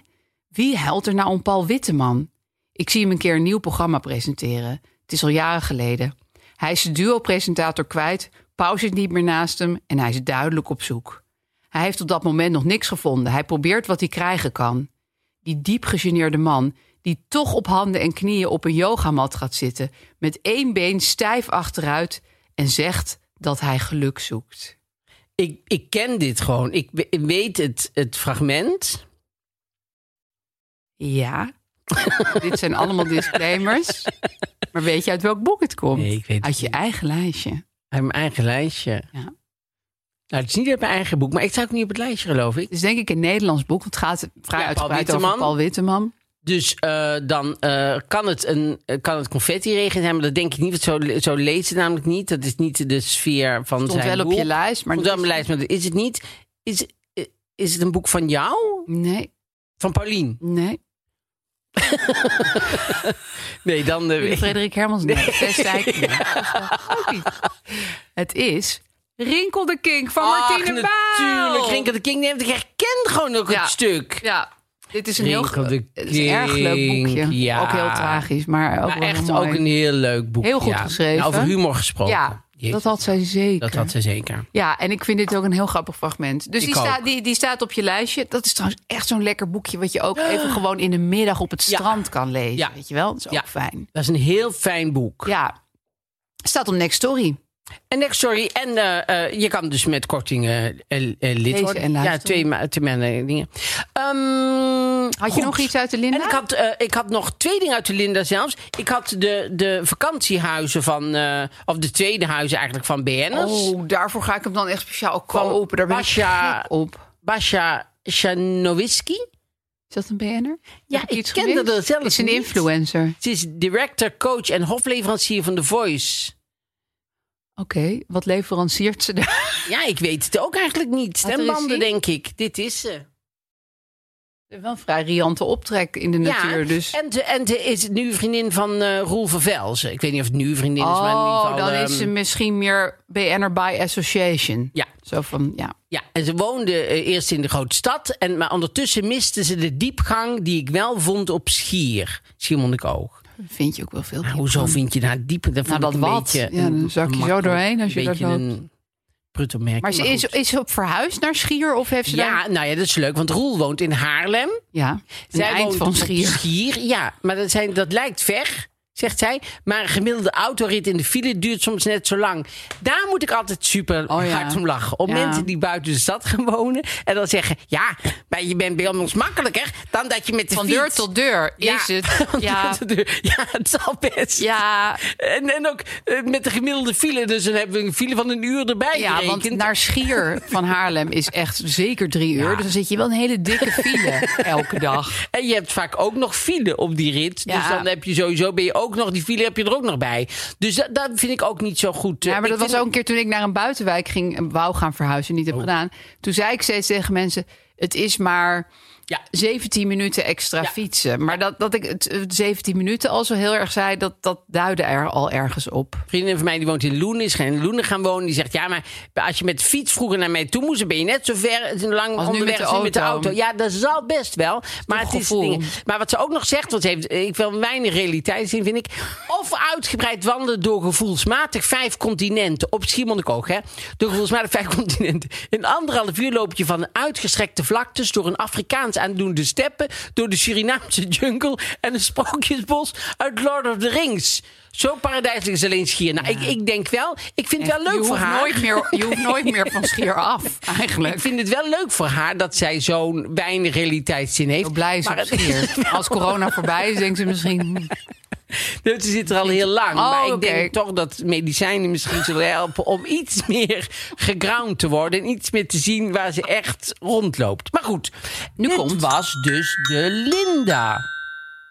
[SPEAKER 3] Wie huilt er nou om Paul Witteman? Ik zie hem een keer een nieuw programma presenteren. Het is al jaren geleden. Hij is de duo-presentator kwijt, Pauw zit niet meer naast hem en hij is duidelijk op zoek. Hij heeft op dat moment nog niks gevonden. Hij probeert wat hij krijgen kan. Die diep gegeneerde man, die toch op handen en knieën op een yogamat gaat zitten, met één been stijf achteruit en zegt dat hij geluk zoekt.
[SPEAKER 2] Ik, ik ken dit gewoon. Ik we- ik weet het, het fragment.
[SPEAKER 3] [laughs] Ja. Dit zijn allemaal disclaimers. Maar weet je uit welk boek het komt?
[SPEAKER 2] Nee, ik weet het
[SPEAKER 3] uit je
[SPEAKER 2] niet.
[SPEAKER 3] eigen lijstje.
[SPEAKER 2] Uit mijn eigen lijstje.
[SPEAKER 3] Ja.
[SPEAKER 2] Nou, het is niet uit mijn eigen boek, maar ik sta ook niet op het lijstje, geloof ik.
[SPEAKER 3] Het is denk ik een Nederlands boek. want Het gaat vrij
[SPEAKER 2] Ja, Paul
[SPEAKER 3] uitgebreid over
[SPEAKER 2] Witteman.
[SPEAKER 3] Paul Witteman.
[SPEAKER 2] Dus eh, dan eh, kan, het een, eh, kan het confetti-regen zijn, maar dat denk ik niet. Want zo, zo leest het namelijk niet. Dat is niet de sfeer van
[SPEAKER 3] Stond
[SPEAKER 2] zijn
[SPEAKER 3] wel op
[SPEAKER 2] boek.
[SPEAKER 3] je lijst, maar...
[SPEAKER 2] Stond wel op mijn lijst, maar dat is het niet. Is, eh, is het een boek van jou?
[SPEAKER 3] Nee,
[SPEAKER 2] Van Paulien?
[SPEAKER 3] nee.
[SPEAKER 2] Nee, dan...
[SPEAKER 3] [laughs]
[SPEAKER 2] eh,
[SPEAKER 3] Jullie Frederik Hermans. Nee, Zes Dijken.
[SPEAKER 2] [laughs]
[SPEAKER 3] Nee, dat is toch ook niet. Het is Rinkel de King van Martine Baal.
[SPEAKER 2] natuurlijk. Rinkel de King. Nee, want ik herken gewoon ook
[SPEAKER 3] Ja.
[SPEAKER 2] het stuk.
[SPEAKER 3] Ja, dit is een heel...
[SPEAKER 2] Rinkel
[SPEAKER 3] ge-
[SPEAKER 2] de
[SPEAKER 3] Het is een erg leuk
[SPEAKER 2] King,
[SPEAKER 3] boekje.
[SPEAKER 2] ja.
[SPEAKER 3] Ook heel tragisch, maar ook
[SPEAKER 2] maar
[SPEAKER 3] wel
[SPEAKER 2] echt
[SPEAKER 3] heel mooi.
[SPEAKER 2] ook een heel leuk boek.
[SPEAKER 3] Heel goed
[SPEAKER 2] ja.
[SPEAKER 3] geschreven.
[SPEAKER 2] Nou, over humor gesproken.
[SPEAKER 3] Ja,
[SPEAKER 2] Jeetje.
[SPEAKER 3] dat had eh. zij zeker.
[SPEAKER 2] Dat had ze zeker.
[SPEAKER 3] Ja, en ik vind dit ook een heel grappig fragment. Dus
[SPEAKER 2] Ik
[SPEAKER 3] die,
[SPEAKER 2] ook.
[SPEAKER 3] staat- die, die staat op je lijstje. Dat is trouwens echt zo'n lekker boekje... wat je ook even gewoon in de middag op het
[SPEAKER 2] Ja.
[SPEAKER 3] strand kan lezen.
[SPEAKER 2] Ja.
[SPEAKER 3] Weet je wel? Dat is ook
[SPEAKER 2] Ja.
[SPEAKER 3] fijn.
[SPEAKER 2] Dat is een heel fijn boek.
[SPEAKER 3] Ja. Staat op Next Story.
[SPEAKER 2] En next story. En eh, eh, je kan dus met korting eh, eh, eh, lid
[SPEAKER 3] Lezen
[SPEAKER 2] worden.
[SPEAKER 3] en luisteren.
[SPEAKER 2] ja, twee, ma- twee ma- dingen. Ehm,
[SPEAKER 3] Had je
[SPEAKER 2] goed.
[SPEAKER 3] nog iets uit de Linda?
[SPEAKER 2] En ik had, eh, ik had nog twee dingen uit de Linda zelfs. Ik had de, de vakantiehuizen van... eh, of de tweede huizen eigenlijk van BN'ers.
[SPEAKER 3] Oh, daarvoor ga ik hem dan echt speciaal ook
[SPEAKER 2] Van
[SPEAKER 3] kopen. Daar ben ik
[SPEAKER 2] Basja-
[SPEAKER 3] gek op.
[SPEAKER 2] Basja Chanowiski.
[SPEAKER 3] Is dat een BN'er?
[SPEAKER 2] Ja,
[SPEAKER 3] Heb
[SPEAKER 2] ik
[SPEAKER 3] iets
[SPEAKER 2] kende
[SPEAKER 3] gemist?
[SPEAKER 2] dat zelf
[SPEAKER 3] Is een
[SPEAKER 2] niet.
[SPEAKER 3] influencer.
[SPEAKER 2] Ze is director, coach en hofleverancier van The Voice.
[SPEAKER 3] Oké, wat leveranciert ze
[SPEAKER 2] [laughs]
[SPEAKER 3] daar?
[SPEAKER 2] Ja, ik weet het ook eigenlijk niet.
[SPEAKER 3] Wat er is
[SPEAKER 2] Stembanden,
[SPEAKER 3] hier?
[SPEAKER 2] denk ik. Dit is ze.
[SPEAKER 3] Wel een vrij riante optrek in de natuur, dus...
[SPEAKER 2] En ze en ze is nu vriendin van eh, Roel van Velzen. Ik weet niet of het nu vriendin is, maar in ieder
[SPEAKER 3] Oh,
[SPEAKER 2] geval...
[SPEAKER 3] dan
[SPEAKER 2] ehm,
[SPEAKER 3] is ze misschien meer BN'er by association.
[SPEAKER 2] Ja.
[SPEAKER 3] Zo van, ja.
[SPEAKER 2] Ja, en ze woonde eh, eerst in de grote stad. En, maar ondertussen miste ze de diepgang die ik wel vond op Schier. Schiermonnikoog.
[SPEAKER 3] Vind je ook wel veel.
[SPEAKER 2] Maar Ah, hoezo vind je daar diep? Dat vond
[SPEAKER 3] Nou, dat
[SPEAKER 2] ik een
[SPEAKER 3] wat?
[SPEAKER 2] beetje...
[SPEAKER 3] Ja,
[SPEAKER 2] een-
[SPEAKER 3] dan zak je
[SPEAKER 2] een
[SPEAKER 3] zo
[SPEAKER 2] makkelijk-
[SPEAKER 3] doorheen als je
[SPEAKER 2] een
[SPEAKER 3] daar
[SPEAKER 2] beetje
[SPEAKER 3] loopt.
[SPEAKER 2] een brutto merk.
[SPEAKER 3] Maar ze is,
[SPEAKER 2] goed.
[SPEAKER 3] is ze op verhuisd naar Schier of heeft ze daar...
[SPEAKER 2] Ja, nou ja, dat is leuk, want Roel woont in Haarlem.
[SPEAKER 3] Ja, een
[SPEAKER 2] Zij
[SPEAKER 3] eind
[SPEAKER 2] woont
[SPEAKER 3] van
[SPEAKER 2] op
[SPEAKER 3] Schier.
[SPEAKER 2] ja. Maar dat, zijn, dat lijkt ver, zegt zij. Maar een gemiddelde autorit in de file duurt soms net zo lang. Daar moet ik altijd super
[SPEAKER 3] Oh ja.
[SPEAKER 2] hard om lachen. Op
[SPEAKER 3] Ja.
[SPEAKER 2] mensen die buiten de stad gaan wonen. En dan zeggen, ja, maar je bent bij ons makkelijker... dan dat je met de
[SPEAKER 3] Van
[SPEAKER 2] fiets...
[SPEAKER 3] deur
[SPEAKER 2] [laughs]
[SPEAKER 3] tot deur
[SPEAKER 2] Ja,
[SPEAKER 3] is
[SPEAKER 2] [laughs]
[SPEAKER 3] het.
[SPEAKER 2] van deur
[SPEAKER 3] Ja,
[SPEAKER 2] tot deur. ja, het zal best.
[SPEAKER 3] ja,
[SPEAKER 2] En, en ook eh, met de gemiddelde file. Dus dan hebben we een file van een uur erbij
[SPEAKER 3] ja want
[SPEAKER 2] gerekend.
[SPEAKER 3] naar Schier van Haarlem is echt zeker drie uur. Dus dan zit je wel een hele dikke
[SPEAKER 2] [laughs]
[SPEAKER 3] file elke dag.
[SPEAKER 2] En je hebt vaak ook nog file op die rit. Dus
[SPEAKER 3] Ja.
[SPEAKER 2] dan heb je sowieso ben je ook nog die file heb je er ook nog bij. Dus dat, dat vind ik ook niet zo goed. eh,
[SPEAKER 3] Ja, maar
[SPEAKER 2] Ik
[SPEAKER 3] dat was
[SPEAKER 2] vind- Oh.
[SPEAKER 3] ook een keer toen ik naar een buitenwijk ging en wou gaan verhuizen, niet heb gedaan. Toen zei ik steeds tegen mensen: het is maar
[SPEAKER 2] Ja.
[SPEAKER 3] 17 minuten extra fietsen. Maar dat, dat ik het eh, 17 minuten al zo heel erg zei, dat, dat duidde er al ergens op.
[SPEAKER 2] Een vriendin van mij die woont in Loenen, is gaan in Loenen gaan wonen. Die zegt, ja, maar als je met de fiets vroeger naar mij toe moest... dan ben je net zo ver zo lang
[SPEAKER 3] met de
[SPEAKER 2] onderweg als nu met de
[SPEAKER 3] auto.
[SPEAKER 2] auto. Ja, dat zal best wel. Maar, het is
[SPEAKER 3] gevoel.
[SPEAKER 2] dingen. maar wat ze ook nog zegt, want ze heeft eh, ik wil weinig realiteit zien, vind ik... of uitgebreid wandelen door gevoelsmatig vijf continenten. Op Schiermonnikoog, hè? Door gevoelsmatig vijf [laughs] continenten. In anderhalf uur loop je van uitgestrekte vlaktes... door een Afrikaans aandoende steppen... door de Surinaamse jungle en een sprookjesbos uit Lord of the Rings... Zo paradijselijk is alleen schier. Nou, ik, ik denk wel. Ik vind het wel
[SPEAKER 3] je
[SPEAKER 2] leuk voor
[SPEAKER 3] hoeft
[SPEAKER 2] haar.
[SPEAKER 3] Nooit meer, je hoeft nooit meer van Schier af,
[SPEAKER 2] [laughs]
[SPEAKER 3] eigenlijk.
[SPEAKER 2] Ik vind het wel leuk voor haar dat zij zo'n weinig realiteitszin heeft.
[SPEAKER 3] Zo blij is op
[SPEAKER 2] maar
[SPEAKER 3] Schier. Als corona voorbij is, denkt ze misschien... hm,
[SPEAKER 2] het, ze zit er al heel lang.
[SPEAKER 3] Oh,
[SPEAKER 2] maar ik
[SPEAKER 3] oké.
[SPEAKER 2] denk toch dat medicijnen misschien zullen helpen om iets meer geground te worden. En iets meer te zien waar ze echt rondloopt. Maar goed,
[SPEAKER 3] Nu
[SPEAKER 2] dit
[SPEAKER 3] komt-
[SPEAKER 2] was dus de Linda.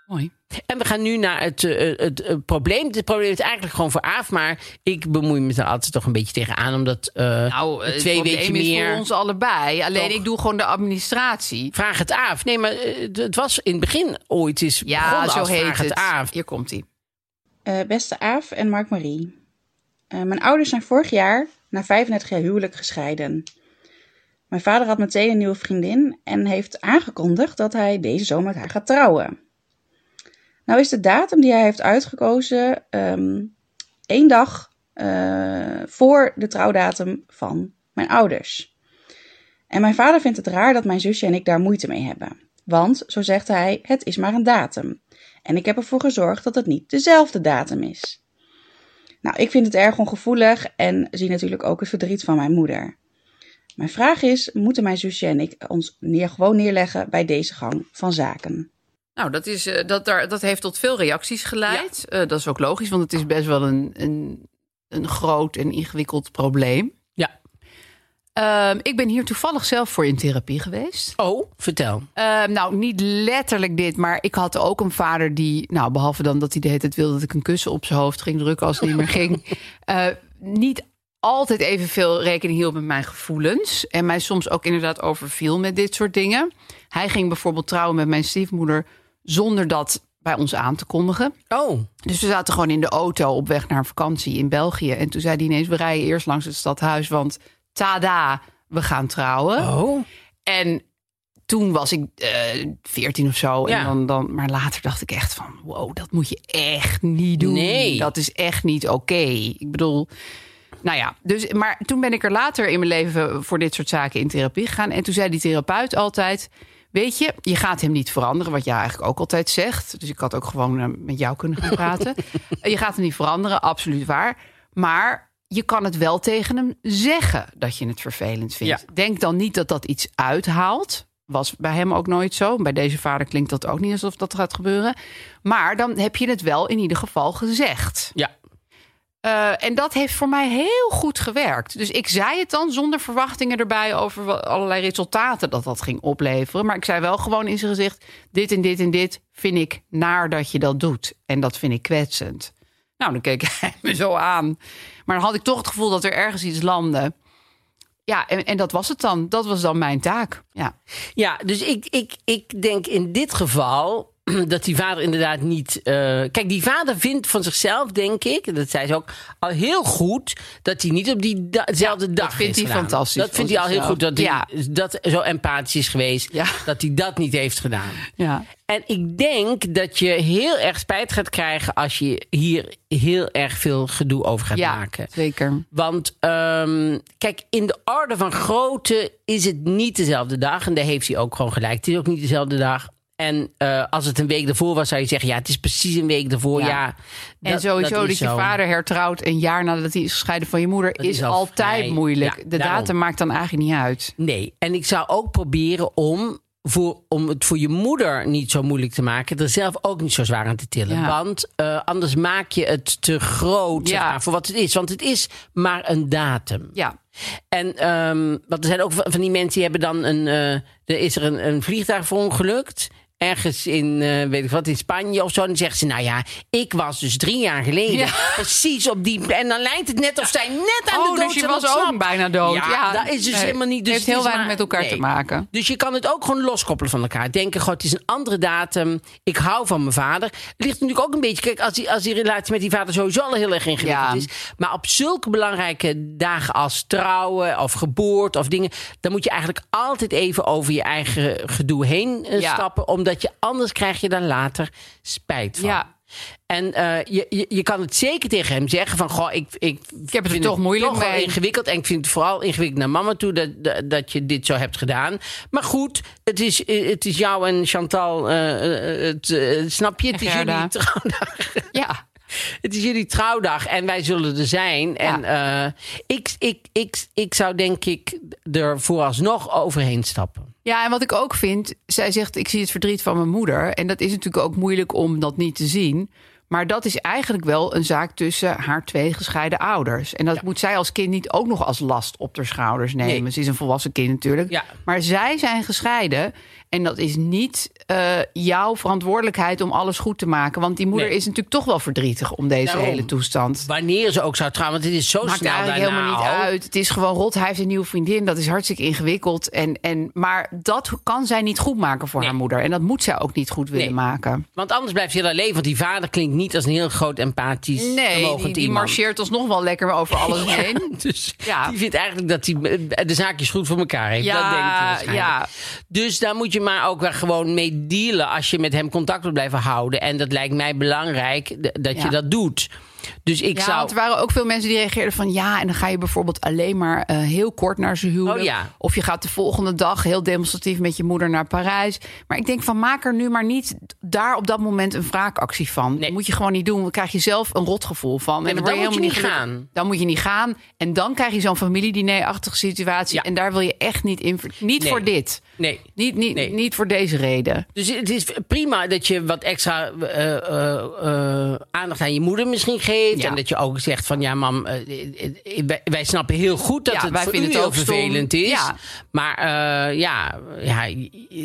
[SPEAKER 3] Mooi.
[SPEAKER 2] En we gaan nu naar het, eh, eh, het, eh, probleem. Het probleem is eigenlijk gewoon voor Aaf. Maar ik bemoei me er altijd toch een beetje tegenaan. Omdat eh,
[SPEAKER 3] Nou, het
[SPEAKER 2] twee
[SPEAKER 3] probleem
[SPEAKER 2] weken
[SPEAKER 3] is
[SPEAKER 2] meer...
[SPEAKER 3] voor ons allebei. Alleen
[SPEAKER 2] Toch.
[SPEAKER 3] ik doe gewoon de administratie.
[SPEAKER 2] Vraag het Aaf. Nee, maar eh, het- het was in het begin ooit eens
[SPEAKER 3] Ja,
[SPEAKER 2] begonnen
[SPEAKER 3] zo
[SPEAKER 2] als
[SPEAKER 3] heet
[SPEAKER 2] Vraag
[SPEAKER 3] het.
[SPEAKER 2] het Aaf.
[SPEAKER 3] Hier komt hij.
[SPEAKER 4] Eh, beste Aaf en Mark-Marie. Eh, mijn ouders zijn vorig jaar na 35 jaar huwelijk gescheiden. Mijn vader had meteen een nieuwe vriendin en heeft aangekondigd dat hij deze zomer met haar gaat trouwen. Nou is de datum die hij heeft uitgekozen ehm, één dag eh, voor de trouwdatum van mijn ouders. En mijn vader vindt het raar dat mijn zusje en ik daar moeite mee hebben. Want, zo zegt hij, het is maar een datum. En ik heb ervoor gezorgd dat het niet dezelfde datum is. Nou, ik vind het erg ongevoelig en zie natuurlijk ook het verdriet van mijn moeder. Mijn vraag is: moeten mijn zusje en ik ons neer, gewoon neerleggen bij deze gang van zaken?
[SPEAKER 3] Nou, dat, is, eh, dat, daar, dat heeft tot veel reacties geleid. Eh, dat is ook logisch, want het is best wel een, een, een groot en ingewikkeld probleem.
[SPEAKER 2] Ja.
[SPEAKER 3] Ehm, ik ben hier toevallig zelf voor in therapie geweest.
[SPEAKER 2] Oh, vertel.
[SPEAKER 3] Ehm, nou, niet letterlijk dit, maar ik had ook een vader die, nou, behalve dan dat hij de hele tijd wilde dat ik een kussen op zijn hoofd ging drukken als het niet meer ging, eh, niet altijd evenveel rekening hield met mijn gevoelens en mij soms ook inderdaad overviel met dit soort dingen. Hij ging bijvoorbeeld trouwen met mijn stiefmoeder zonder dat bij ons aan te kondigen.
[SPEAKER 2] Oh,
[SPEAKER 3] Dus we zaten gewoon in de auto op weg naar een vakantie in België. En toen zei hij ineens, we rijden eerst langs het stadhuis, want tada, we gaan trouwen.
[SPEAKER 2] oh.
[SPEAKER 3] En toen was ik eh, veertien of zo.
[SPEAKER 2] Ja.
[SPEAKER 3] En dan, dan, maar later dacht ik echt van... wow, dat moet je echt niet doen.
[SPEAKER 2] Nee.
[SPEAKER 3] Dat is echt niet oké. Ik bedoel... Nou ja, dus, maar toen ben ik er later in mijn leven voor dit soort zaken in therapie gegaan. En toen zei die therapeut altijd... Weet je, je gaat hem niet veranderen, wat jij eigenlijk ook altijd zegt. Dus ik had ook gewoon eh, met jou kunnen gaan
[SPEAKER 2] [laughs]
[SPEAKER 3] praten. je gaat hem niet veranderen, absoluut waar. Maar je kan het wel tegen hem zeggen dat je het vervelend vindt.
[SPEAKER 2] Ja.
[SPEAKER 3] Denk dan niet dat dat iets uithaalt. Was bij hem ook nooit zo. Bij deze vader klinkt dat ook niet alsof dat gaat gebeuren. Maar dan heb je het wel in ieder geval gezegd.
[SPEAKER 2] Ja.
[SPEAKER 3] Eh, en dat heeft voor mij heel goed gewerkt. Dus ik zei het dan zonder verwachtingen erbij over wel- allerlei resultaten dat dat ging opleveren. Maar ik zei wel gewoon in zijn gezicht: dit en dit en dit vind ik naar dat je dat doet. En dat vind ik kwetsend. Nou, dan keek [laughs] hij me zo aan. Maar dan had ik toch het gevoel dat er ergens iets landde. Ja, en, en dat was het dan. Dat was dan mijn taak. Ja.
[SPEAKER 2] Ja, dus ik, ik, ik denk in dit geval [clears throat] dat die vader inderdaad niet. eh, kijk, die vader vindt van zichzelf, denk ik, en dat zei ze ook, al heel goed dat hij niet op diezelfde dag.
[SPEAKER 3] vindt
[SPEAKER 2] heeft
[SPEAKER 3] hij
[SPEAKER 2] gedaan.
[SPEAKER 3] fantastisch
[SPEAKER 2] Dat vindt
[SPEAKER 3] van
[SPEAKER 2] hij al heel goed dat hij
[SPEAKER 3] zichzelf.
[SPEAKER 2] dat zo empathisch is geweest,
[SPEAKER 3] Ja.
[SPEAKER 2] dat hij dat niet heeft gedaan.
[SPEAKER 3] ja.
[SPEAKER 2] En ik denk dat je heel erg spijt gaat krijgen als je hier heel erg veel gedoe over gaat
[SPEAKER 3] Ja,
[SPEAKER 2] maken.
[SPEAKER 3] zeker.
[SPEAKER 2] Want ehm, kijk, in de orde van grootte is het niet dezelfde dag. En daar heeft hij ook gewoon gelijk. Het is ook niet dezelfde dag. En eh, als het een week ervoor was, zou je zeggen: ja, het is precies een week ervoor. Ja.
[SPEAKER 3] Ja. En
[SPEAKER 2] dat-
[SPEAKER 3] sowieso
[SPEAKER 2] dat
[SPEAKER 3] dat,
[SPEAKER 2] is
[SPEAKER 3] je
[SPEAKER 2] zo.
[SPEAKER 3] vader hertrouwt een jaar nadat hij is gescheiden van je moeder,
[SPEAKER 2] Dat
[SPEAKER 3] is,
[SPEAKER 2] is al
[SPEAKER 3] altijd
[SPEAKER 2] vrij-
[SPEAKER 3] moeilijk.
[SPEAKER 2] ja,
[SPEAKER 3] de
[SPEAKER 2] daarom.
[SPEAKER 3] datum maakt dan eigenlijk niet uit.
[SPEAKER 2] Nee. En ik zou ook proberen om, voor, om het voor je moeder niet zo moeilijk te maken, er zelf ook niet zo zwaar aan te tillen.
[SPEAKER 3] Ja.
[SPEAKER 2] Want eh, anders maak je het te groot zeg
[SPEAKER 3] Ja.
[SPEAKER 2] maar, voor wat het is. Want het is maar een datum.
[SPEAKER 3] Ja,
[SPEAKER 2] En ehm, want er zijn ook van van die mensen die hebben dan een. eh, er is er een, een vliegtuig verongelukt. Ergens in, eh, weet ik wat, in Spanje of zo. En dan zeggen ze, nou ja, ik was dus drie jaar geleden. Precies op die... En dan lijkt het net of zij net aan
[SPEAKER 3] Oh,
[SPEAKER 2] de dood
[SPEAKER 3] dus je
[SPEAKER 2] zijn
[SPEAKER 3] was
[SPEAKER 2] ontsnapt.
[SPEAKER 3] ook bijna dood.
[SPEAKER 2] Ja,
[SPEAKER 3] Ja,
[SPEAKER 2] dat is dus
[SPEAKER 3] nee.
[SPEAKER 2] helemaal niet... Dus
[SPEAKER 3] Heeft
[SPEAKER 2] het
[SPEAKER 3] heel
[SPEAKER 2] is
[SPEAKER 3] weinig met elkaar te maken.
[SPEAKER 2] Dus je kan het ook gewoon loskoppelen van elkaar. Denken, god, het is een andere datum. Ik hou van mijn vader. Het ligt natuurlijk ook een beetje... Kijk, als die, als die relatie met die vader sowieso al heel erg ingewikkeld
[SPEAKER 3] Ja.
[SPEAKER 2] is... Maar op zulke belangrijke dagen als trouwen of geboorte of dingen, dan moet je eigenlijk altijd even over je eigen gedoe heen eh,
[SPEAKER 3] Ja.
[SPEAKER 2] stappen, omdat je anders krijg je daar later spijt van.
[SPEAKER 3] Ja.
[SPEAKER 2] En eh, je, je, je kan het zeker tegen hem zeggen van... Goh, ik, ik, ik
[SPEAKER 3] er toch moeilijk
[SPEAKER 2] toch wel
[SPEAKER 3] mee.
[SPEAKER 2] ingewikkeld. En ik vind het vooral ingewikkeld naar mama toe dat, dat, dat je dit zo hebt gedaan. Maar goed, het is, eh, het is jou en Chantal, eh, eh, het, eh, snap je? Het
[SPEAKER 3] En
[SPEAKER 2] is
[SPEAKER 3] Gerda.
[SPEAKER 2] jullie trouwdag. [laughs] Ah.
[SPEAKER 3] ja.
[SPEAKER 2] Het is jullie trouwdag en wij zullen er zijn. En eh, ik, ik, ik, ik zou denk ik er vooralsnog overheen stappen.
[SPEAKER 3] Ja, en wat ik ook vind, zij zegt: Ik zie het verdriet van mijn moeder. En dat is natuurlijk ook moeilijk om dat niet te zien. Maar dat is eigenlijk wel een zaak tussen haar twee gescheiden ouders. En dat moet zij als kind niet ook nog als last op haar schouders nemen.
[SPEAKER 2] Nee.
[SPEAKER 3] Ze is een volwassen kind natuurlijk.
[SPEAKER 2] Ja.
[SPEAKER 3] Maar zij zijn gescheiden. En dat is niet eh, jouw verantwoordelijkheid om alles goed te maken. Want die moeder
[SPEAKER 2] Nee.
[SPEAKER 3] is natuurlijk toch wel verdrietig om deze
[SPEAKER 2] Daarom.
[SPEAKER 3] hele toestand.
[SPEAKER 2] Wanneer ze ook zou trouwen, want het is zo
[SPEAKER 3] Maakt
[SPEAKER 2] snel
[SPEAKER 3] eigenlijk
[SPEAKER 2] daarna
[SPEAKER 3] helemaal niet
[SPEAKER 2] al.
[SPEAKER 3] uit. Het is gewoon rot. Hij heeft een nieuwe vriendin. Dat is hartstikke ingewikkeld. En, en, maar dat kan zij niet goed maken voor
[SPEAKER 2] Nee.
[SPEAKER 3] haar moeder. En dat moet zij ook niet goed willen
[SPEAKER 2] Nee.
[SPEAKER 3] maken.
[SPEAKER 2] Want anders blijft hij alleen. Want die vader klinkt niet als een heel groot empathisch
[SPEAKER 3] Nee,
[SPEAKER 2] vermogend
[SPEAKER 3] die, die
[SPEAKER 2] iemand.
[SPEAKER 3] marcheert alsnog wel lekker over alles heen.
[SPEAKER 2] [laughs] Dus
[SPEAKER 3] Ja.
[SPEAKER 2] die vindt eigenlijk dat hij eh, de zaakjes goed voor elkaar heeft.
[SPEAKER 3] Ja,
[SPEAKER 2] dat denkt hij waarschijnlijk.
[SPEAKER 3] ja.
[SPEAKER 2] Dus daar moet je maar ook wel gewoon mee dealen... als je met hem contact wil blijven houden. En dat lijkt mij belangrijk d- dat
[SPEAKER 3] Ja.
[SPEAKER 2] je dat doet. Dus ik
[SPEAKER 3] ja,
[SPEAKER 2] zou...
[SPEAKER 3] want er waren ook veel mensen die reageerden van ja, en dan ga je bijvoorbeeld alleen maar eh, heel kort naar zijn huwelijk.
[SPEAKER 2] Oh ja.
[SPEAKER 3] Of je gaat de volgende dag heel demonstratief met je moeder naar Parijs. Maar ik denk van maak er nu maar niet daar op dat moment een wraakactie van.
[SPEAKER 2] Nee.
[SPEAKER 3] moet je gewoon niet doen. Dan krijg je zelf een rotgevoel van.
[SPEAKER 2] Nee,
[SPEAKER 3] en
[SPEAKER 2] maar
[SPEAKER 3] word
[SPEAKER 2] dan moet je
[SPEAKER 3] helemaal
[SPEAKER 2] niet
[SPEAKER 3] gelukkig.
[SPEAKER 2] gaan.
[SPEAKER 3] Dan moet je niet gaan. En dan krijg je zo'n familiediner-achtige situatie.
[SPEAKER 2] Ja.
[SPEAKER 3] En daar wil je echt niet in. ver- Niet
[SPEAKER 2] Nee.
[SPEAKER 3] voor dit.
[SPEAKER 2] Nee.
[SPEAKER 3] Niet, niet,
[SPEAKER 2] Nee.
[SPEAKER 3] niet voor deze reden.
[SPEAKER 2] Dus het is prima dat je wat extra eh, eh, eh, aandacht aan je moeder misschien geeft.
[SPEAKER 3] Ja.
[SPEAKER 2] En dat je ook zegt van ja, mam, eh, eh, eh, wij, wij snappen heel goed dat
[SPEAKER 3] Ja,
[SPEAKER 2] het
[SPEAKER 3] wij
[SPEAKER 2] voor
[SPEAKER 3] vinden
[SPEAKER 2] u
[SPEAKER 3] het
[SPEAKER 2] heel
[SPEAKER 3] ook stom.
[SPEAKER 2] vervelend is.
[SPEAKER 3] Ja.
[SPEAKER 2] Maar eh, ja, ja,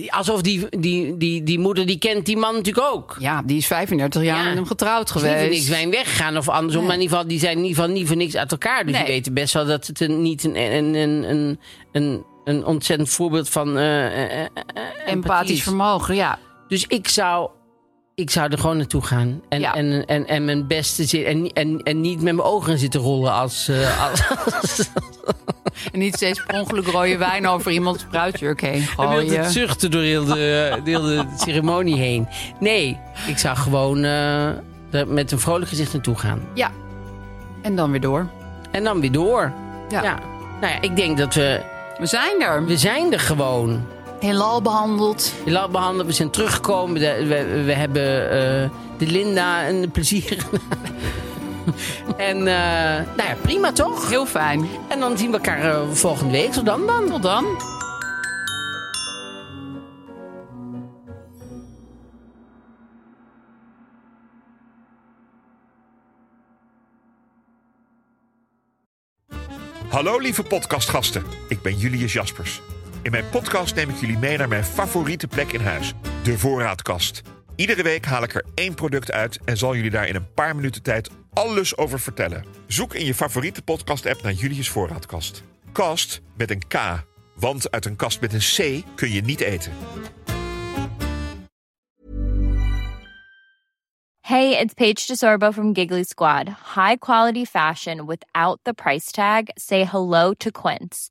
[SPEAKER 2] alsof die, die, die, die moeder, die kent die man natuurlijk ook.
[SPEAKER 3] Ja, die is 35 jaar
[SPEAKER 2] Ja.
[SPEAKER 3] met hem getrouwd
[SPEAKER 2] Is niet voor niks
[SPEAKER 3] geweest.
[SPEAKER 2] zijn weggegaan of andersom. Maar in ieder geval, die zijn in ieder geval niet voor niks uit elkaar. Dus
[SPEAKER 3] Nee.
[SPEAKER 2] die weten best wel dat het een, niet een, een, een, een, een, een ontzettend voorbeeld van eh, eh, eh, eh, empathie
[SPEAKER 3] Empathisch
[SPEAKER 2] is.
[SPEAKER 3] vermogen, ja.
[SPEAKER 2] Dus ik zou, ik zou er gewoon naartoe gaan. En,
[SPEAKER 3] Ja.
[SPEAKER 2] en, en, en mijn beste zin. En, en, en niet met mijn ogen zitten rollen als. eh, als
[SPEAKER 3] En niet steeds per ongeluk rode wijn over iemands bruidsjurk heen
[SPEAKER 2] dan wil het
[SPEAKER 3] gooien.
[SPEAKER 2] zuchten door heel de, de, heel de [laughs] ceremonie heen. Nee, ik zou gewoon eh, er met een vrolijk gezicht naartoe gaan.
[SPEAKER 3] Ja. En dan weer door.
[SPEAKER 2] En dan weer door.
[SPEAKER 3] Ja.
[SPEAKER 2] ja. Nou ja, ik denk dat we.
[SPEAKER 3] We zijn er.
[SPEAKER 2] We zijn er gewoon.
[SPEAKER 3] Heelal behandeld.
[SPEAKER 2] Je laat behandelen, we zijn teruggekomen. De- we, we hebben eh, de Linda een plezier. [laughs] en eh, nou ja, prima toch?
[SPEAKER 3] Heel fijn.
[SPEAKER 2] En dan zien we elkaar eh, volgende week. Tot dan dan. Tot dan.
[SPEAKER 5] Hallo lieve podcastgasten, ik ben Julius Jaspers. In mijn podcast neem ik jullie mee naar mijn favoriete plek in huis, de voorraadkast. Iedere week haal ik er één product uit en zal jullie daar in een paar minuten tijd alles over vertellen. Zoek in je favoriete podcast-app naar Julius Voorraadkast. Kast met een K, want uit een kast met een C kun je niet eten.
[SPEAKER 6] Hey, it's Paige DeSorbo from Giggly Squad. High quality fashion without the price tag. Say hello to Quince.